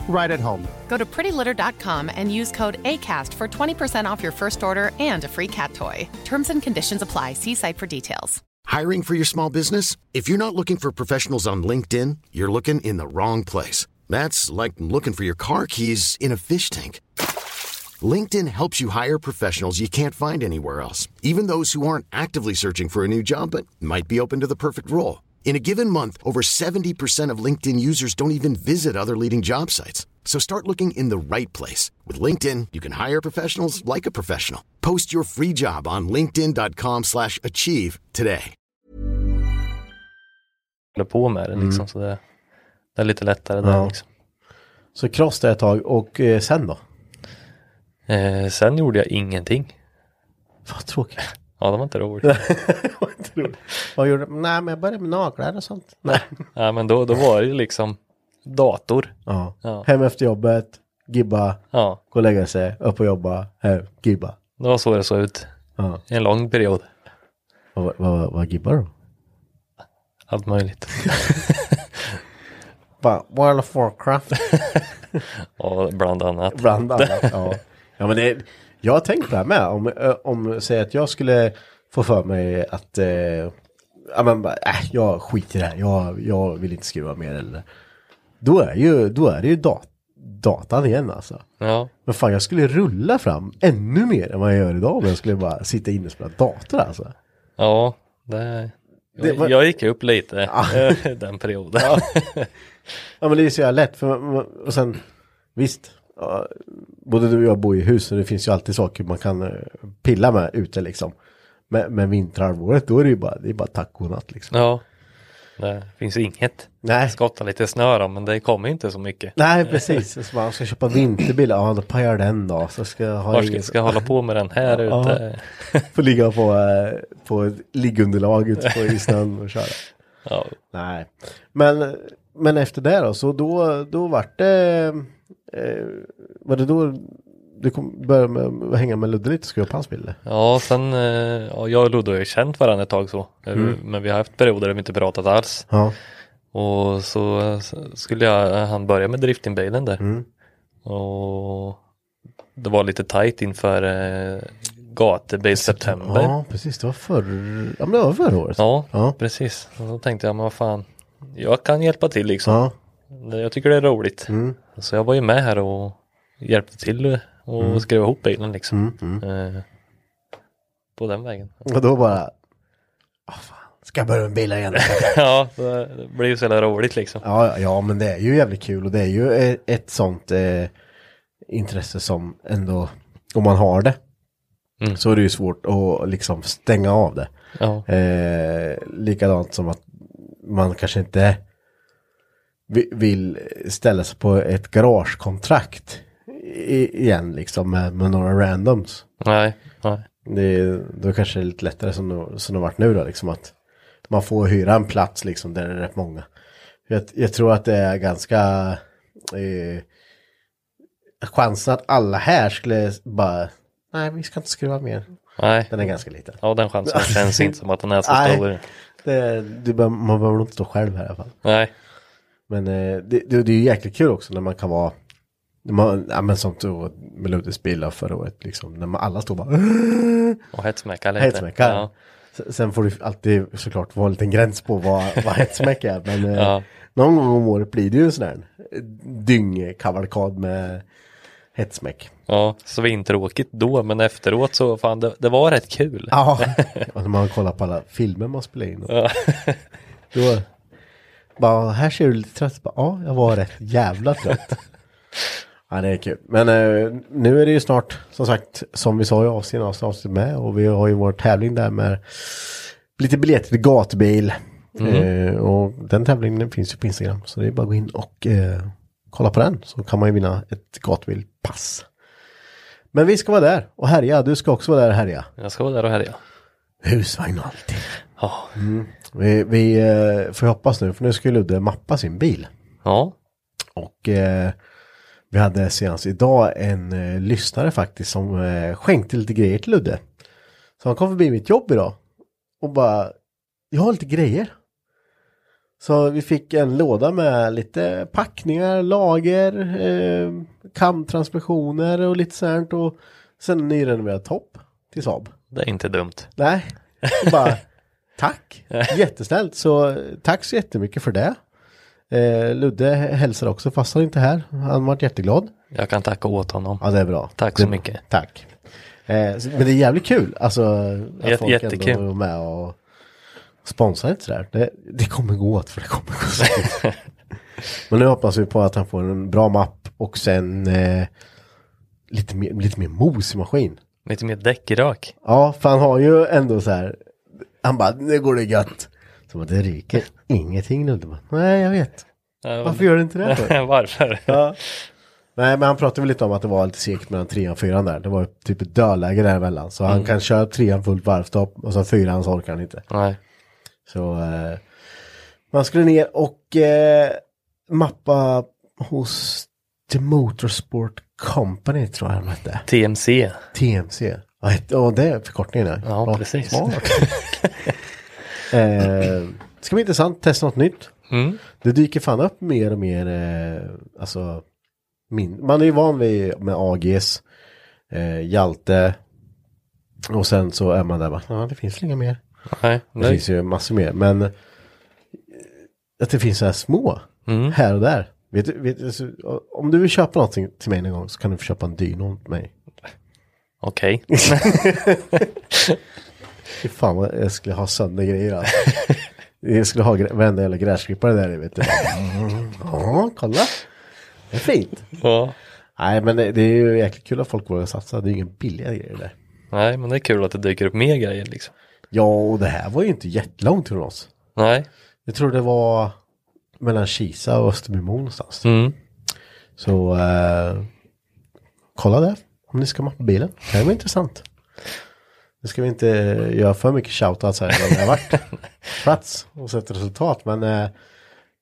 [SPEAKER 3] right at home.
[SPEAKER 4] Go to prettylitter.com and use code ACAST for 20% off your first order and a free cat toy. Terms and conditions apply. See site for details.
[SPEAKER 5] Hiring for your small business? If you're not looking for professionals on LinkedIn, you're looking in the wrong place. That's like looking for your car keys in a fish tank. LinkedIn helps you hire professionals you can't find anywhere else, even those who aren't actively searching for a new job but might be open to the perfect role. In a given month, over 70% of LinkedIn users don't even visit other leading job sites. So start looking in the right place. With LinkedIn, you can hire professionals like a professional. Post your free job on linkedin.com/achieve slash achieve today.
[SPEAKER 2] håller på med det liksom. Så det, det är lite lättare där
[SPEAKER 1] Mm. Ja.
[SPEAKER 2] liksom.
[SPEAKER 1] Så cross där ett tag och eh, sen då?
[SPEAKER 2] Eh, sen gjorde jag ingenting.
[SPEAKER 1] Vad tråkigt.
[SPEAKER 2] Ja, det var inte roligt.
[SPEAKER 1] Vad roligt. Vad gjorde du? Nej men jag började med naglar och sånt. Nej.
[SPEAKER 2] ja, men då, då var det ju liksom dator.
[SPEAKER 1] Ja.
[SPEAKER 2] Ja.
[SPEAKER 1] Hem efter jobbet, gibba,
[SPEAKER 2] Ja,
[SPEAKER 1] gå och lägga sig, upp och jobba, hem, gibba.
[SPEAKER 2] det var så det såg ut.
[SPEAKER 1] Ja.
[SPEAKER 2] En lång period.
[SPEAKER 1] Vad, vad, vad gibbar du?
[SPEAKER 2] Allt möjligt.
[SPEAKER 1] Bara World of Warcraft.
[SPEAKER 2] Ja, bland annat.
[SPEAKER 1] Bland annat, ja. ja men det, jag har tänkt på det här med. Om, ö, om säg att jag skulle få för mig att eh, ja, men, bara, äh, jag skiter i det här. Jag, jag vill inte skruva mer eller. Då är, ju, då är det ju dat datan igen alltså.
[SPEAKER 2] Ja,
[SPEAKER 1] Men fan jag skulle rulla fram ännu mer än vad jag gör idag om jag skulle bara sitta inne och spela dator alltså.
[SPEAKER 2] ja det,
[SPEAKER 1] Det var-
[SPEAKER 2] jag, jag gick upp lite eh, den perioden.
[SPEAKER 1] Ja men det är så jävla lätt. För, man- man- och sen visst. Ja, både du och jag bor i hus och det finns ju alltid saker man kan eh, pilla med ute liksom. Men, men vinterhalvåret då är det ju bara, det är bara tack och natt liksom.
[SPEAKER 2] Ja, Det finns inget.
[SPEAKER 1] Nej.
[SPEAKER 2] Skotta lite snö då, men det kommer ju inte så mycket.
[SPEAKER 1] Nej, precis. Och Så bara, ska jag köpa vinterbil? Ja, då pajar den då. Så ska jag ha
[SPEAKER 2] Var ska, ska jag hålla på med den här
[SPEAKER 1] Ja.
[SPEAKER 2] ute?
[SPEAKER 1] Får ligga på, eh, på ett liggunderlag ute på i snön och köra.
[SPEAKER 2] Ja.
[SPEAKER 1] Nej, men, men efter det då, så då, då vart det, eh, var det då du kom, började med, hänga med Ludde lite och skrev upp hans bilder?
[SPEAKER 2] Ja, sen, eh, ja, jag och Ludde har ju känt varandra ett tag så. Eh,
[SPEAKER 1] Mm.
[SPEAKER 2] Men vi har haft perioder där vi inte pratat alls.
[SPEAKER 1] Ja.
[SPEAKER 2] Och så eh, skulle jag, han börja med driftingbilen där.
[SPEAKER 1] Mm.
[SPEAKER 2] Och det var lite tajt inför eh, gatubil september.
[SPEAKER 1] Ja, precis, det var förr, ja men det var förra året.
[SPEAKER 2] Ja,
[SPEAKER 1] Ja.
[SPEAKER 2] precis. Och då tänkte jag, men vad fan, jag kan hjälpa till liksom.
[SPEAKER 1] Ja, Mm.
[SPEAKER 2] Det- Jag tycker det är roligt. Så jag var ju med här och hjälpte till och
[SPEAKER 1] Mm.
[SPEAKER 2] skrev ihop bilen liksom. Eh, på den vägen.
[SPEAKER 1] och då bara, ah, fan, ska jag börja med bilar igen?
[SPEAKER 2] ja, så det blev ju så jävla roligt liksom.
[SPEAKER 1] ja, ja, ja, men det är ju jävligt kul och det är ju eh, ett sånt eh, intresse som ändå, om man har det,
[SPEAKER 2] Mm.
[SPEAKER 1] så är det ju svårt att liksom stänga av det.
[SPEAKER 2] Ja,
[SPEAKER 1] Eh, likadant som att man kanske inte vi- vill ställa sig på ett garagekontrakt i- igen liksom med, med några randoms.
[SPEAKER 2] nej, nej.
[SPEAKER 1] Det är, då kanske det är lite lättare som det, som det har varit nu då liksom att man får hyra en plats liksom där det är rätt många. Jag, jag tror att det är ganska eh, chansen att alla här skulle bara nej vi ska inte skruva mer.
[SPEAKER 2] nej.
[SPEAKER 1] Den är ganska liten.
[SPEAKER 2] Ja, den chansen känns inte som att den är så
[SPEAKER 1] Nej.
[SPEAKER 2] stor.
[SPEAKER 1] Det, du, behöver- man behöver nog inte stå själv här i alla fall.
[SPEAKER 2] Nej,
[SPEAKER 1] Men eh, det, det, det är ju jäkligt kul också när man kan vara när man, ja, men som då med Luddes bil av förra året liksom. När man alla står bara
[SPEAKER 2] och hetsmäcka lite.
[SPEAKER 1] hetsmäckar.
[SPEAKER 2] Ja,
[SPEAKER 1] S- Sen får du alltid såklart vara en liten gräns på vad, vad hetsmäck är. Men eh,
[SPEAKER 2] Ja.
[SPEAKER 1] någon gång om året blir det ju en sån här dyngkavalkad med hetsmäck.
[SPEAKER 2] ja svintråkigt då, men efteråt så fan, det, det var rätt kul.
[SPEAKER 1] Ja, och när man kollar på alla filmer man spelar in. Och, då bara, här ser du lite trött. Bara, ja, jag var rätt jävla trött. ja, det är kul. Men eh, nu är det ju snart, som sagt, som vi sa i avsnittet, avsnitt avsnitt med. Och vi har ju vår tävling där med lite biljetter till gatbil. Eh, och den tävlingen finns ju på Instagram. Så det är bara att gå in och eh, kolla på den. Så kan man ju vinna ett gatbilpass. Men vi ska vara där och härja. Du ska också vara där och härja.
[SPEAKER 2] Jag ska vara där och härja.
[SPEAKER 1] Husvagn och allting.
[SPEAKER 2] Ja,
[SPEAKER 1] Vi, vi eh, får hoppas nu, för nu ska ju Ludde mappa sin bil.
[SPEAKER 2] ja,
[SPEAKER 1] Och eh, vi hade senast idag en eh, lyssnare faktiskt som eh, skänkte lite grejer till Ludde. Så han kom förbi mitt jobb idag och bara, jag har lite grejer. Så vi fick en låda med lite packningar, lager, eh, kamtransmissioner och lite sånt och sen en nyrenoverad topp till Saab.
[SPEAKER 2] det är inte dumt.
[SPEAKER 1] Nej, och bara tack, jättesnällt. Så eh, tack så jättemycket för det. Eh, Ludde hälsar också fast han inte är här. Han varit jätteglad.
[SPEAKER 2] Jag kan tacka åt honom.
[SPEAKER 1] Ja, det är bra.
[SPEAKER 2] Tack så
[SPEAKER 1] Det-
[SPEAKER 2] mycket.
[SPEAKER 1] Tack. Eh, så- men det är jävligt kul, alltså
[SPEAKER 2] Jät-
[SPEAKER 1] att folk
[SPEAKER 2] jättekul.
[SPEAKER 1] ändå är med och sponsrar lite sådär. Det, det kommer gå åt, för det kommer gå så fort. Men nu hoppas vi på att han får en bra mapp och sen eh, lite, mer, lite mer mos i maskin.
[SPEAKER 2] Lite mer däckrök.
[SPEAKER 1] Ja, för han har ju ändå så här. Han bara, nu går det gött. Så bara, det ryker ingenting nu. Bara, Nej, jag vet. Varför gör du inte det? för?
[SPEAKER 2] Varför?
[SPEAKER 1] ja. Nej, men han pratade väl lite om att det var lite segt mellan trean och fyran där. Det var ju typ ett dödläge däremellan. Så han kan köra trean fullt varvstopp och sen fyran så orkar han inte.
[SPEAKER 2] Nej.
[SPEAKER 1] Så eh, man skulle ner och eh, mappa hos The Motorsport Company tror jag de hette.
[SPEAKER 2] TMC.
[SPEAKER 1] TMC. Ja, het- Ja, det är förkortningen. Ja,
[SPEAKER 2] Ja, precis.
[SPEAKER 1] Smart. eh, ska bli intressant, testa något nytt.
[SPEAKER 2] Mm.
[SPEAKER 1] Det dyker fan upp mer och mer, eh, alltså, min, man är ju van vid med AGs, eh, Hjalte, och sen så är man där bara, ja det finns väl inga mer.
[SPEAKER 2] Nej.
[SPEAKER 1] Det
[SPEAKER 2] Nej.
[SPEAKER 1] finns ju massor mer, men eh, att det finns så här små,
[SPEAKER 2] Mm.
[SPEAKER 1] här och där. Vet du, vet, du, så- om du vill köpa någonting till mig någon gång så kan du få köpa en dyno till mig.
[SPEAKER 2] Okej.
[SPEAKER 1] Fy fan vad jag skulle ha sönder grejer alltså. Jag skulle ha gre- varenda jävla gräsklippare där i, vet du. Mm. Ja, kolla. Det är fint.
[SPEAKER 2] Ja.
[SPEAKER 1] Nej men det, det är ju jäkligt kul att folk vågar satsa. Det är ju ingen billiga grejer där.
[SPEAKER 2] Nej, men det är kul att det dyker upp mer grejer liksom.
[SPEAKER 1] Ja och det här var ju inte jättelångt från oss.
[SPEAKER 2] Nej.
[SPEAKER 1] Jag tror det var mellan Kisa och Österbymo någonstans.
[SPEAKER 2] Mm.
[SPEAKER 1] Så eh, kolla där om ni ska mappa bilen. Det här var intressant. Nu ska vi inte eh, göra för mycket shoutouts här vad vi har varit plats och sett resultat. Men eh,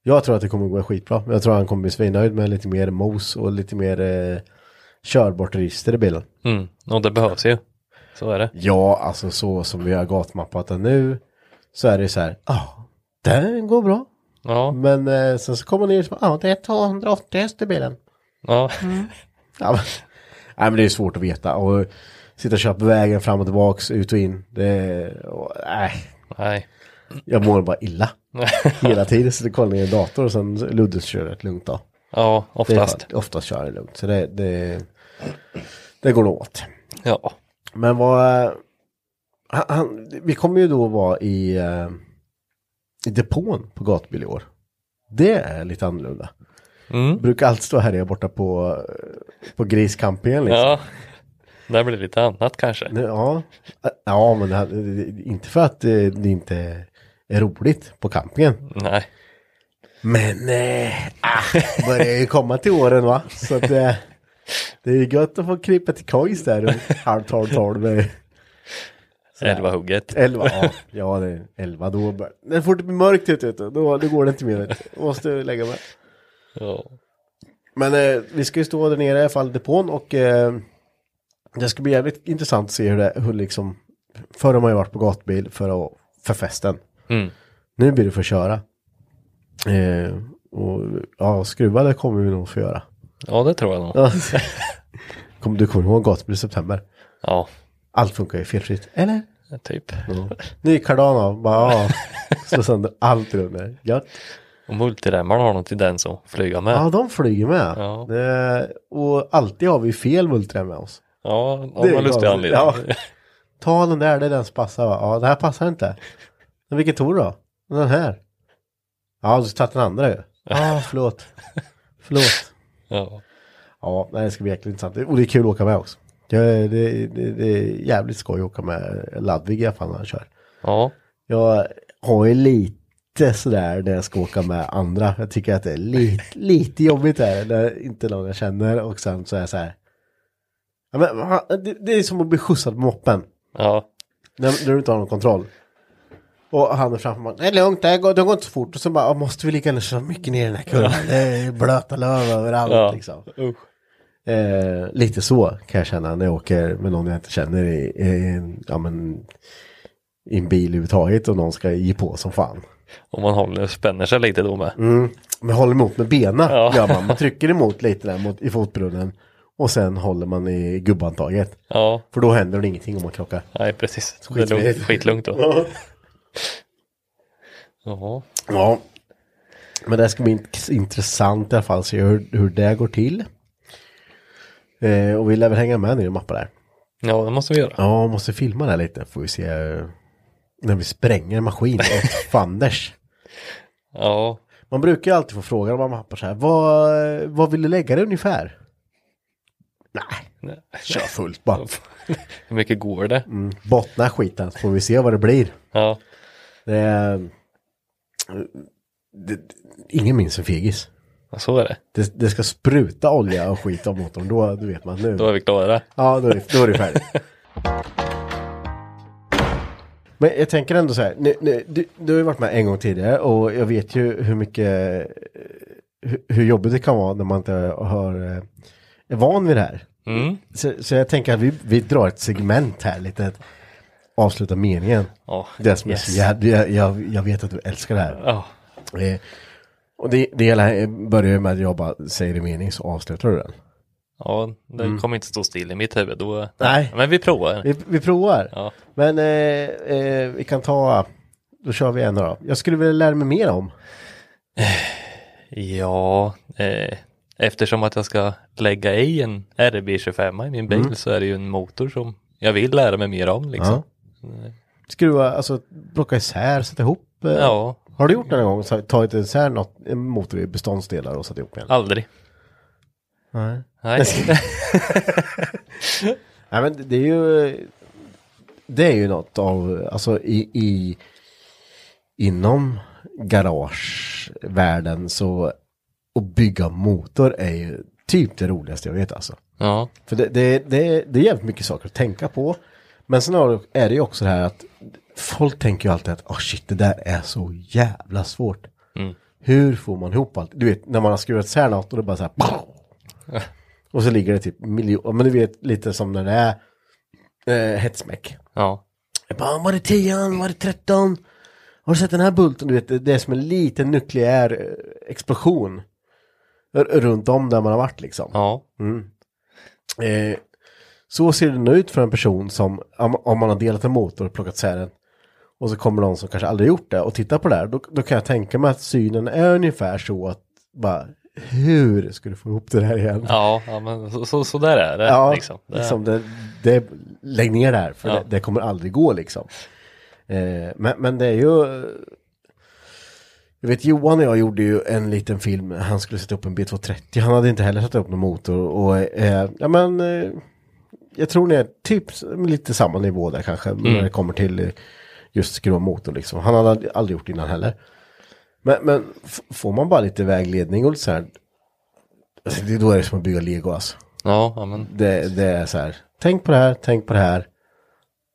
[SPEAKER 1] jag tror att det kommer gå skitbra. Jag tror han kommer bli svinnöjd med lite mer mos och lite mer eh, körbart register i bilen.
[SPEAKER 2] Mm. Och det behövs ju. Så är det.
[SPEAKER 1] Ja, alltså så som vi har gatmappat den nu så är det så här, ja, den går bra.
[SPEAKER 2] Ja,
[SPEAKER 1] Men eh, sen så kommer ni ut och bara, ja, det är 280 häst i bilen.
[SPEAKER 2] ja.
[SPEAKER 1] Ja, men, nej, men det är svårt att veta. Och sitta och köra på vägen fram och tillbaks, ut och in. Det, och, nej,
[SPEAKER 2] Nej.
[SPEAKER 1] jag mår bara illa. Hela tiden sitter och kollar ner i dator och sen Luddes kör rätt lugnt då.
[SPEAKER 2] Ja,
[SPEAKER 1] Det är
[SPEAKER 2] oftast.
[SPEAKER 1] skönt. Oftast kör jag lugnt. Så det, det, det går nog åt.
[SPEAKER 2] Ja.
[SPEAKER 1] Men vad... eh, Han, han, vi kommer ju då vara i, eh, i depån på gatbil i år. Det är lite annorlunda.
[SPEAKER 2] Mm.
[SPEAKER 1] Brukar alltid stå här borta på, eh, på griscampingen liksom.
[SPEAKER 2] Ja. Där blir det lite annat kanske.
[SPEAKER 1] Nu, Ja, ja men det här, inte för att eh, det inte är roligt på campingen.
[SPEAKER 2] Nej.
[SPEAKER 1] Men eh, ah, börjar ju komma till åren va. Så att, eh, det är ju gött att få krypa till kojs där runt halv tolv, tolv, eh,
[SPEAKER 2] Elva hugget.
[SPEAKER 1] elva. Ja, ja det är elva då. bör- När fort det blir mörkt ute, vet du, då, då går det inte mer. Vet du. Måste lägga mig.
[SPEAKER 2] Ja.
[SPEAKER 1] Men eh, vi ska ju stå där nere i alla fall depån och eh, det ska bli jävligt intressant att se hur det, hur liksom, förr har man ju varit på gatbil för, att, för festen.
[SPEAKER 2] Mm.
[SPEAKER 1] Nu blir det för att köra. Eh, och ja, skruva det kommer vi nog få göra.
[SPEAKER 2] ja, det tror jag nog.
[SPEAKER 1] Ja. Kom, du kommer ihåg gatbil i september?
[SPEAKER 2] Ja,
[SPEAKER 1] Allt funkar ju felfritt, eller?
[SPEAKER 2] typ.
[SPEAKER 1] Ny Cardano, bara ja, slå sönder allt runt mig. Gött.
[SPEAKER 2] Och multiremmarna har någon tendens att flyga med.
[SPEAKER 1] Ja, de flyger med.
[SPEAKER 2] Ja.
[SPEAKER 1] Det, och alltid har vi fel multrem med oss.
[SPEAKER 2] Ja, av
[SPEAKER 1] Det är
[SPEAKER 2] någon lustig
[SPEAKER 1] galet.
[SPEAKER 2] anledning.
[SPEAKER 1] Ja. Ta den där, det är den som passar va? Ja, det här passar inte. Men vilken tog du då? Den här. Ja, du tagit den andra ju. Ja, ah, förlåt. Förlåt.
[SPEAKER 2] Ja.
[SPEAKER 1] Ja, nej, det ska bli jäkligt intressant. Och det är kul att åka med också. Det, det, det, det är jävligt skoj att åka med Ludvig i alla fall när han kör.
[SPEAKER 2] ja.
[SPEAKER 1] Jag har ju lite sådär när jag ska åka med andra. Jag tycker att det är lite, lite jobbigt där. När inte någon jag känner och sen så är jag så här. Ja, men, va? det, det är som att bli skjutsad på moppen.
[SPEAKER 2] Ja.
[SPEAKER 1] När, när du inte har någon kontroll. Och han är framför mig. Det är lugnt, det går, det går inte så fort. Och så bara, "Ja, måste vi lika gärna köra mycket ner i den här kurvan. Det är blöta löv överallt
[SPEAKER 2] Ja.
[SPEAKER 1] liksom.
[SPEAKER 2] Usch.
[SPEAKER 1] Eh, lite så kan jag känna när jag åker med någon jag inte känner i, i, en- ja, men, i en bil överhuvudtaget och någon ska ge på som fan.
[SPEAKER 2] Och man håller, spänner sig lite då med.
[SPEAKER 1] Man håller emot med benen
[SPEAKER 2] Ja.
[SPEAKER 1] gör man. Man trycker emot lite där mot, i fotbrunnen. Och sen håller man i gubbantaget.
[SPEAKER 2] Ja,
[SPEAKER 1] För då händer det ingenting om man krockar.
[SPEAKER 2] nej precis. Det är lugnt,
[SPEAKER 1] Skitlugnt.
[SPEAKER 2] skitlugnt då. Ja.
[SPEAKER 1] Ja. Men det här ska bli int- intressant i alla fall, se hur, hur det går till. Eh, och vi lär väl hänga med ner i mappar där.
[SPEAKER 2] ja, det måste vi göra.
[SPEAKER 1] Ja, måste filma det här lite, får vi se. eh, När vi spränger maskin åt fanders.
[SPEAKER 2] Ja,
[SPEAKER 1] Man brukar ju alltid få frågan om man mappar så här, vad, vad vill du lägga det ungefär? Nej, kör fullt bara.
[SPEAKER 2] hur mycket går det?
[SPEAKER 1] Bottna skiten, så får vi se vad det blir.
[SPEAKER 2] Ja,
[SPEAKER 1] Det, är- eh, det, ingen minns en fegis.
[SPEAKER 2] så är det.
[SPEAKER 1] det, det ska spruta olja och skit av motorn, då, då vet man nu.
[SPEAKER 2] Då är vi klara.
[SPEAKER 1] Ja, då är det, då är det färdigt. Men jag tänker ändå så här, nu, nu, du, du har ju varit med en gång tidigare och jag vet ju hur mycket, eh, hur, hur jobbigt det kan vara när man inte har, eh, är van vid det här.
[SPEAKER 2] Mm.
[SPEAKER 1] Så, så jag tänker att vi, vi drar ett segment här lite, att avsluta meningen.
[SPEAKER 2] Ja,
[SPEAKER 1] Det som är så jag, jag, jag, jag vet att du älskar det här.
[SPEAKER 2] ja.
[SPEAKER 1] Eh, och det, det hela eh, börjar ju med att jag bara säger en mening så avslutar du den.
[SPEAKER 2] ja det kommer inte stå still i mitt huvud. Då...
[SPEAKER 1] Nej.
[SPEAKER 2] Men vi provar.
[SPEAKER 1] Vi, vi provar.
[SPEAKER 2] Ja.
[SPEAKER 1] Men eh, eh, vi kan ta, då kör vi en då. Jag skulle vilja lära mig mer om.
[SPEAKER 2] Ja, eh, eftersom att jag ska lägga i en RB25 i min bil så är det ju en motor som jag vill lära mig mer om liksom.
[SPEAKER 1] Skruva, alltså plocka isär, sätta ihop. Eh.
[SPEAKER 2] Ja,
[SPEAKER 1] Har du gjort det någon gång? Så- Tagit isär något, en motor i beståndsdelar och satt ihop igen?
[SPEAKER 2] aldrig.
[SPEAKER 1] Nej.
[SPEAKER 2] Nej.
[SPEAKER 1] Nej men det är ju, det är ju något av, alltså i, i inom garagevärlden så att bygga motor är ju typ det roligaste jag vet alltså.
[SPEAKER 2] Ja.
[SPEAKER 1] För det, det, det, det är jävligt mycket saker att tänka på. Men sen har du- är det ju också det här att folk tänker ju alltid att oh shit, det där är så jävla svårt. Hur får man ihop allt? Du vet, när man har skurit isär något och det bara så här. och så ligger det typ miljoner, men du vet lite som när det är eh, hetsmäck.
[SPEAKER 2] Ja.
[SPEAKER 1] Jag bara, var det 10, var det 13? Har du sett den här bulten? Du vet, det- det är som en liten nukleär eh, explosion. r- Runt om där man har varit liksom.
[SPEAKER 2] Ja.
[SPEAKER 1] Eh, så ser det nu ut för en person som, om, om man har delat en motor och plockat isär den. Och så kommer någon som kanske aldrig gjort det och tittar på det här. Då, då kan jag tänka mig att synen är ungefär så att bara, hur ska du få ihop det här igen?
[SPEAKER 2] Ja, ja men så, så, så där är det.
[SPEAKER 1] Ja,
[SPEAKER 2] liksom. Det,
[SPEAKER 1] det, det, lägg ner det här för
[SPEAKER 2] Ja.
[SPEAKER 1] det, det kommer aldrig gå liksom. Eh, men, men det är ju... eh, Jag vet Johan och jag gjorde ju en liten film, han skulle sätta upp en B230, han hade inte heller satt upp någon motor och eh, ja men eh, jag tror ni är typ s- lite samma nivå där kanske
[SPEAKER 2] Mm.
[SPEAKER 1] när det kommer till eh, just skruva motor liksom. Han hade aldrig- aldrig gjort det innan heller. Men, men f- får man bara lite vägledning och lite så här, alltså, det, då är det som att bygga lego alltså.
[SPEAKER 2] Ja, ja, men
[SPEAKER 1] Det, det är så här, tänk på det här, tänk på det här.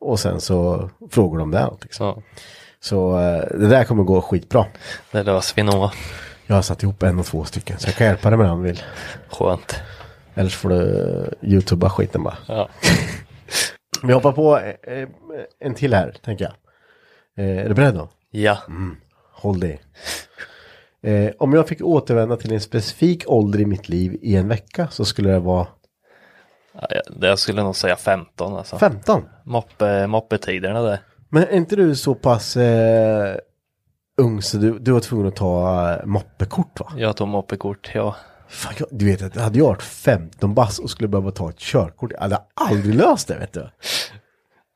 [SPEAKER 1] Och sen så frågar de det. Liksom.
[SPEAKER 2] så.
[SPEAKER 1] Så eh, det där kommer gå skitbra.
[SPEAKER 2] Det löser vi nog.
[SPEAKER 1] Jag har satt ihop en och två stycken, så jag kan hjälpa dig med det om du vill.
[SPEAKER 2] Skönt.
[SPEAKER 1] Eller så får du eh, youtuba skiten bara.
[SPEAKER 2] Ja.
[SPEAKER 1] Vi hoppar på eh, en till här, tänker jag. Eh, Är du beredd då?
[SPEAKER 2] Ja.
[SPEAKER 1] Håll dig. Eh, om jag fick återvända till en specifik ålder i mitt liv i en vecka så skulle det vara
[SPEAKER 2] Ja, det- Jag skulle nog säga 15 alltså.
[SPEAKER 1] 15.
[SPEAKER 2] Moppe, moppetiderna där.
[SPEAKER 1] Men är inte du så pass eh, ung så du, du var tvungen att ta eh, moppekort va?
[SPEAKER 2] Jag tog moppekort, ja.
[SPEAKER 1] Fan, jag, du vet att hade jag varit 15 bass och skulle behöva ta ett körkort, jag hade aldrig löst det vet du.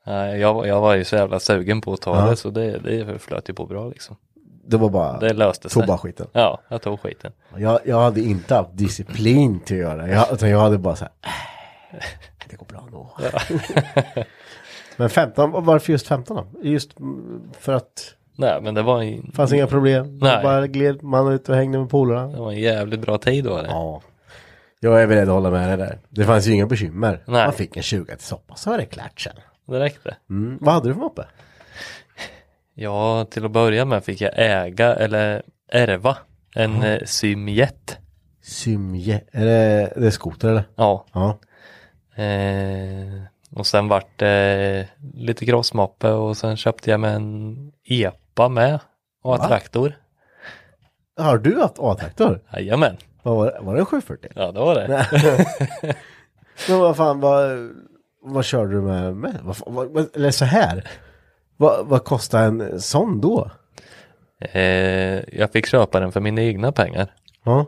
[SPEAKER 2] Nej, Jag, var- jag var ju så jävla sugen på att ta
[SPEAKER 1] Ja.
[SPEAKER 2] det så det, det flöt ju på bra liksom.
[SPEAKER 1] Det var bara,
[SPEAKER 2] Det löste sig.
[SPEAKER 1] tog bara skiten.
[SPEAKER 2] Ja, jag tog skiten.
[SPEAKER 1] Jag, jag hade inte haft disciplin till att göra det, jag, utan jag hade bara så här, "Äh, det går bra nog. Men 15, och varför just 15 då? Just mm, för att
[SPEAKER 2] Nej, men det var en,
[SPEAKER 1] det fanns inga problem,
[SPEAKER 2] Nej.
[SPEAKER 1] bara gled man ut och hängde med polarna.
[SPEAKER 2] det var en jävligt bra tid då. Eller?
[SPEAKER 1] Ja. Jag är beredd att hålla med dig där. Det fanns ju inga bekymmer.
[SPEAKER 2] Nej.
[SPEAKER 1] Man fick en 20 till soppa så var det klart sen.
[SPEAKER 2] Det räckte.
[SPEAKER 1] Mm. Vad hade du för moppe?
[SPEAKER 2] Ja, till att börja med fick jag äga eller ärva en mm. symjet.
[SPEAKER 1] Symje. Är det, det är skoter eller?
[SPEAKER 2] Ja,
[SPEAKER 1] Ja.
[SPEAKER 2] Eh, och sen vart det lite crossmoppe och sen köpte jag med en epa med och en
[SPEAKER 1] Va?
[SPEAKER 2] traktor.
[SPEAKER 1] Har du haft A-traktor?
[SPEAKER 2] Jajamän,
[SPEAKER 1] Vad var, det? var det en 740?
[SPEAKER 2] ja det var det.
[SPEAKER 1] Men vad fan, vad, vad körde du med? med? Vad, fan- vad, vad, eller så här. Vad, vad kostar en sån då?
[SPEAKER 2] Eh, jag fick köpa den för mina egna pengar.
[SPEAKER 1] Ja.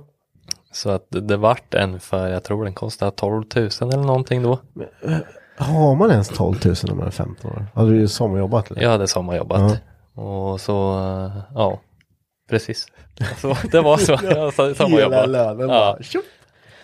[SPEAKER 2] Så att det vart en för, jag tror den kostade 12 000 eller någonting då.
[SPEAKER 1] Har man ens 12 000 om man är 15 år? Hade du ju sommarjobbat eller?
[SPEAKER 2] Jag hade sommarjobbat. Och så, eh, ja, precis. Så, det var så, jag hade
[SPEAKER 1] Hela
[SPEAKER 2] sommarjobbat.
[SPEAKER 1] lönen
[SPEAKER 2] ja.
[SPEAKER 1] bara tjopp.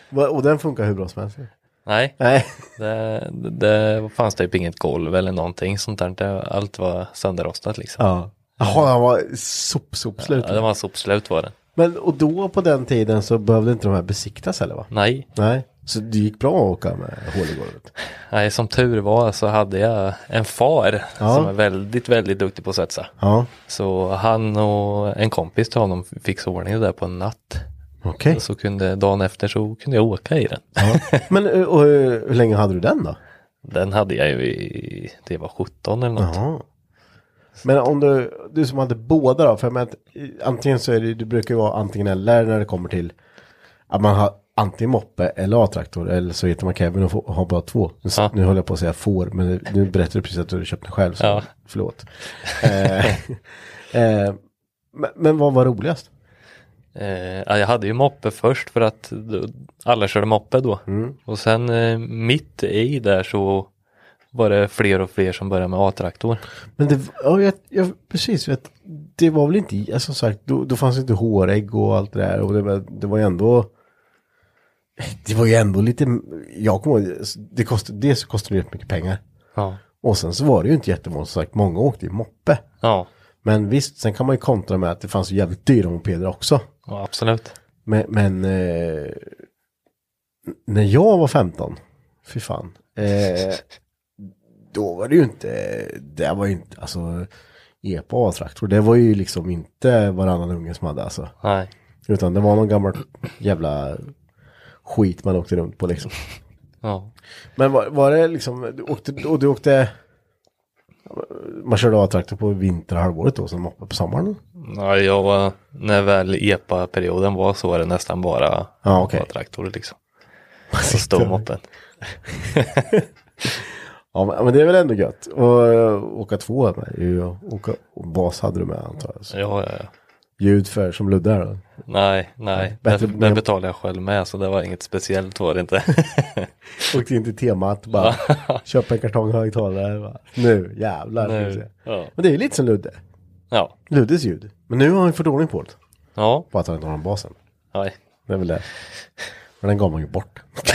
[SPEAKER 1] Va- Och den funkar hur bra som helst.
[SPEAKER 2] Nej,
[SPEAKER 1] Nej.
[SPEAKER 2] det, det fanns typ inget golv eller någonting sånt där. Det- Allt var sönderrostat liksom.
[SPEAKER 1] Ja. Jaha, han var sop, sop, slut.
[SPEAKER 2] Ja, det var sopslut var det.
[SPEAKER 1] Men och då på den tiden så behövde inte de här besiktas eller va?
[SPEAKER 2] Nej,
[SPEAKER 1] Nej. Så det gick bra att åka med hål i golvet.
[SPEAKER 2] nej, som tur var så hade jag en far
[SPEAKER 1] Ja.
[SPEAKER 2] som är väldigt, väldigt duktig på att svetsa.
[SPEAKER 1] Ja.
[SPEAKER 2] Så han och en kompis till honom fick ordning det där på en natt.
[SPEAKER 1] Okej.
[SPEAKER 2] Så kunde, dagen efter så kunde jag åka i den.
[SPEAKER 1] Ja. Men eh, och, eh, hur länge hade du den då?
[SPEAKER 2] Den hade jag ju i, det var 17 eller något.
[SPEAKER 1] Ja. Men om du, du som hade båda då? För jag menar, att, eh, antingen så är det, du brukar ju vara antingen eller när det kommer till att man har antingen moppe eller A-traktor eller så heter man Kevin och får, har bara två. Nu, s-
[SPEAKER 2] Ja.
[SPEAKER 1] nu höll jag på att säga får, men nu berättar du precis att du köpte den själv. Så
[SPEAKER 2] Ja.
[SPEAKER 1] Förlåt. eh, eh, men, men vad var roligast?
[SPEAKER 2] Eh, ja, jag hade ju moppe först för att då- alla körde moppe då. Och sen eh, mitt i där så var det fler och fler som började med A-traktor.
[SPEAKER 1] Men det, ja, jag, jag, precis, vet, det var väl inte, alltså, som sagt, då, då fanns inte hårägg och allt det där och det, var- det var ju ändå, det var ju ändå lite, jag kommer ihåg, alltså, det kostade, dels så kostade det mycket pengar
[SPEAKER 2] Ja.
[SPEAKER 1] och sen så var det ju inte jättemånga, som sagt, många åkte i moppe.
[SPEAKER 2] Ja.
[SPEAKER 1] Men visst, sen kan man ju kontra med att det fanns ju jävligt dyra mopeder också.
[SPEAKER 2] Ja, absolut.
[SPEAKER 1] Men, men eh, n- när jag var 15, fy fan. Eh, då var det ju inte, det var ju inte, alltså epa och traktor, det var ju liksom inte varannan unge som hade alltså.
[SPEAKER 2] Nej.
[SPEAKER 1] Utan det var någon gammal jävla skit man åkte runt på liksom.
[SPEAKER 2] Ja.
[SPEAKER 1] Men var, var det liksom, du åkte, och du åkte, man körde A-traktor på vinterhalvåret då som moppe på sommaren?
[SPEAKER 2] Nej, jag var, när väl EPA-perioden var så var det nästan bara
[SPEAKER 1] Ja, okej.
[SPEAKER 2] traktorer liksom. Så stod moppen.
[SPEAKER 1] Ja men- men det är väl ändå gött. Och eh, åka två med är ju att åka, och bas hade du med antar jag. Så.
[SPEAKER 2] Ja, ja, ja.
[SPEAKER 1] Ljud för som luddar då.
[SPEAKER 2] Nej, nej.
[SPEAKER 1] Bättre-
[SPEAKER 2] den, den betalade jag själv med så det var inget speciellt var det inte.
[SPEAKER 1] Åkte in till temat bara. köpa en kartong högtalare. Bara. Nu jävlar. ska vi
[SPEAKER 2] Nu,
[SPEAKER 1] se.
[SPEAKER 2] ja.
[SPEAKER 1] Men det är ju lite som Ludde.
[SPEAKER 2] ja.
[SPEAKER 1] Luddes ljud. Men nu har han ju fått ordning på det.
[SPEAKER 2] Ja.
[SPEAKER 1] Bara att han inte har den basen.
[SPEAKER 2] Nej.
[SPEAKER 1] Det är väl det. Men den gav man ju bort.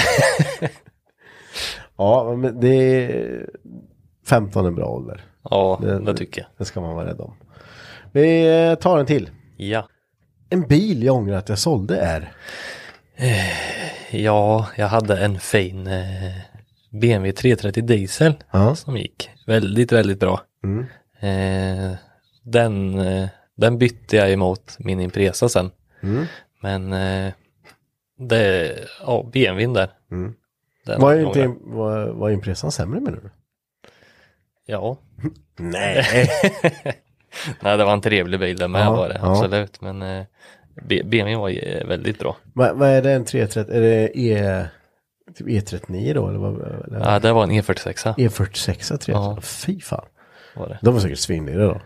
[SPEAKER 1] ja men det är 15 är en bra ålder.
[SPEAKER 2] Ja, det tycker jag.
[SPEAKER 1] Det ska man vara rädd om. Vi eh, tar en till.
[SPEAKER 2] Ja.
[SPEAKER 1] En bil jag ångrar att jag sålde är.
[SPEAKER 2] Ja, jag hade en fin eh, BMW 330 diesel
[SPEAKER 1] Ja. Mm.
[SPEAKER 2] som gick väldigt, väldigt bra. Eh, den, eh, den bytte jag emot min Impresa sen.
[SPEAKER 1] Mm.
[SPEAKER 2] Men eh, det, ja, BMWn där.
[SPEAKER 1] Mm.
[SPEAKER 2] Den
[SPEAKER 1] Var
[SPEAKER 2] jag
[SPEAKER 1] inte
[SPEAKER 2] ångrar.
[SPEAKER 1] var, var impresan sämre menar du?
[SPEAKER 2] Ja,
[SPEAKER 1] Nej.
[SPEAKER 2] nej det var en trevlig bil den med
[SPEAKER 1] Ja,
[SPEAKER 2] var det,
[SPEAKER 1] ja.
[SPEAKER 2] absolut. Men eh, B- BMW var eh, väldigt bra.
[SPEAKER 1] vad, vad är det en 330? Är det E... Typ E39 då? Eller vad, eller? E
[SPEAKER 2] Ja, det var en E E46
[SPEAKER 1] E46 330?
[SPEAKER 2] Ja.
[SPEAKER 1] Fy fan.
[SPEAKER 2] var det.
[SPEAKER 1] De var säkert svindyra då.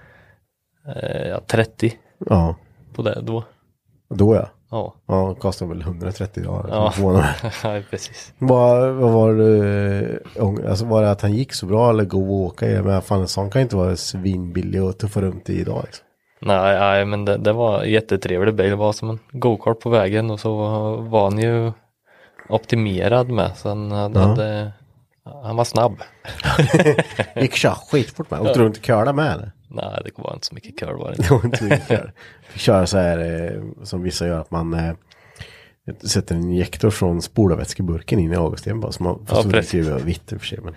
[SPEAKER 2] Eh, ja, 30
[SPEAKER 1] Ja.
[SPEAKER 2] på det då.
[SPEAKER 1] Då ja.
[SPEAKER 2] Ja,
[SPEAKER 1] Ja, kostade väl 130 dagar.
[SPEAKER 2] Ja.
[SPEAKER 1] Ja.
[SPEAKER 2] ja precis.
[SPEAKER 1] Vad, vad var det, ång- alltså var det att han gick så bra eller gå och åka i? Men fan en sån kan ju inte vara svinbillig och tuffa runt i idag. Liksom.
[SPEAKER 2] Nej, nej men det, det var en jättetrevlig bil. Det var som en go-kart på vägen och så var han ju optimerad med. Så han, hade, hade, han var snabb.
[SPEAKER 1] Gick kör skitfort med. Åkte runt och curla med eller?
[SPEAKER 2] Nej, det var inte så mycket kör var det
[SPEAKER 1] Det
[SPEAKER 2] inte.
[SPEAKER 1] var inte mycket kör. Fick köra så här eh, som vissa gör att man eh, sätter en injektor från spolarvätskeburken in i avgassystemet bara. Så man,
[SPEAKER 2] Ja,
[SPEAKER 1] fast ja,
[SPEAKER 2] precis.
[SPEAKER 1] det var vitt i och för sig. Men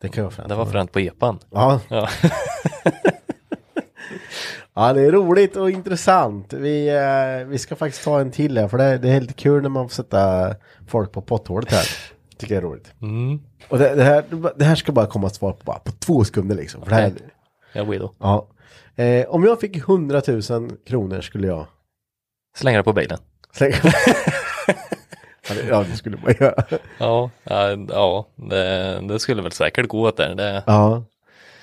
[SPEAKER 1] det kan vara fränt.
[SPEAKER 2] Det var fränt på epan.
[SPEAKER 1] Ja.
[SPEAKER 2] Ja.
[SPEAKER 1] ja, det är roligt och intressant. Vi, eh, vi ska faktiskt ta en till här för det, det är helt kul när man får sätta folk på potthålet här. Tycker jag är roligt.
[SPEAKER 2] Mm.
[SPEAKER 1] Och det, det, här, det här ska bara komma ett svar på, bara på två sekunder liksom. För det här,
[SPEAKER 2] Okej. Jag vill då.
[SPEAKER 1] ja. eh, om jag fick 100 000 kronor skulle jag
[SPEAKER 2] Slänger det på bilen.
[SPEAKER 1] Släng. ja, det- ja, det skulle man göra.
[SPEAKER 2] Ja, eh, ja det, det skulle väl säkert gå åt där. Det,
[SPEAKER 1] Ja.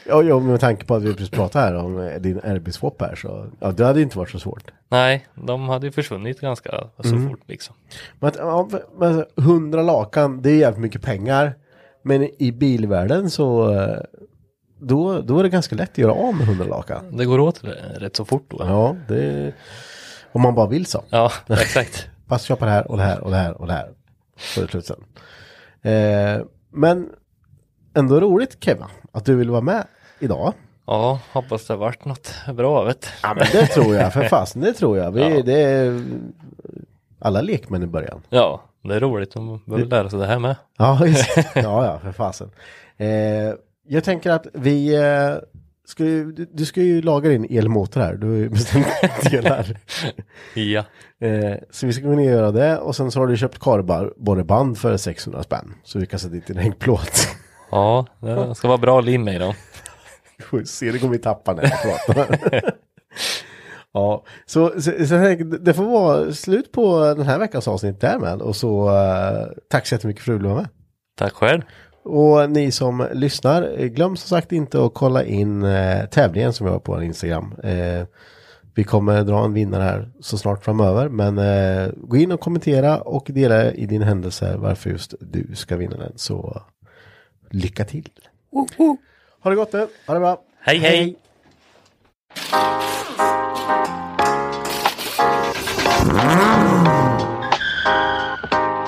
[SPEAKER 1] Ja, ja, med tanke på att vi precis pratade här om eh, din RB-swap här så, ja, det hade ju inte varit så svårt.
[SPEAKER 2] Nej, de hade ju försvunnit ganska så fort liksom.
[SPEAKER 1] Men, att, ja, men 100 lakan, det är jävligt mycket pengar. Men i bilvärlden så, eh, då, då är det ganska lätt att göra av med 100 lakan.
[SPEAKER 2] Det går åt r- rätt så fort då.
[SPEAKER 1] Ja, det, om man bara vill så.
[SPEAKER 2] ja exakt.
[SPEAKER 1] Fast köpa det här och det här och det här och det här. Så är det slut sen. Eh, men ändå roligt Kevin, att du vill vara med idag.
[SPEAKER 2] Ja, hoppas det vart något bra vet du.
[SPEAKER 1] Ja men det tror jag, för fasen det tror jag. Vi, det är alla lekmän i början.
[SPEAKER 2] Ja, det är roligt. De behöver lära sig det här med.
[SPEAKER 1] Ja, just. det. ja, ja för fasen. Eh, jag tänker att vi, eh, ska ju, du, du ska ju laga din elmotor här, du har ju bestämt delar.
[SPEAKER 2] Ja.
[SPEAKER 1] Eh, så vi ska gå ner och göra det och sen så har du köpt kardborreband för 600 spänn. Så vi kan sätta dit en hängplåt.
[SPEAKER 2] Ja, det ska vara bra lim i dem.
[SPEAKER 1] Får se, det kommer vi tappa när jag pratar. ja, så, så, så jag tänker, det får vara slut på den här veckans avsnitt därmed. Och så eh, tack så jättemycket för att du var med.
[SPEAKER 2] Tack själv.
[SPEAKER 1] Och ni som lyssnar, eh, glöm som sagt inte att kolla in eh, tävlingen som vi har på vår Instagram. Eh, vi kommer dra en vinnare här så snart framöver, men eh, gå in och kommentera och dela i din händelse varför just du ska vinna den. Så lycka till! Ha det gott nu, ha det bra!
[SPEAKER 2] Hej, hej.
[SPEAKER 3] Hi,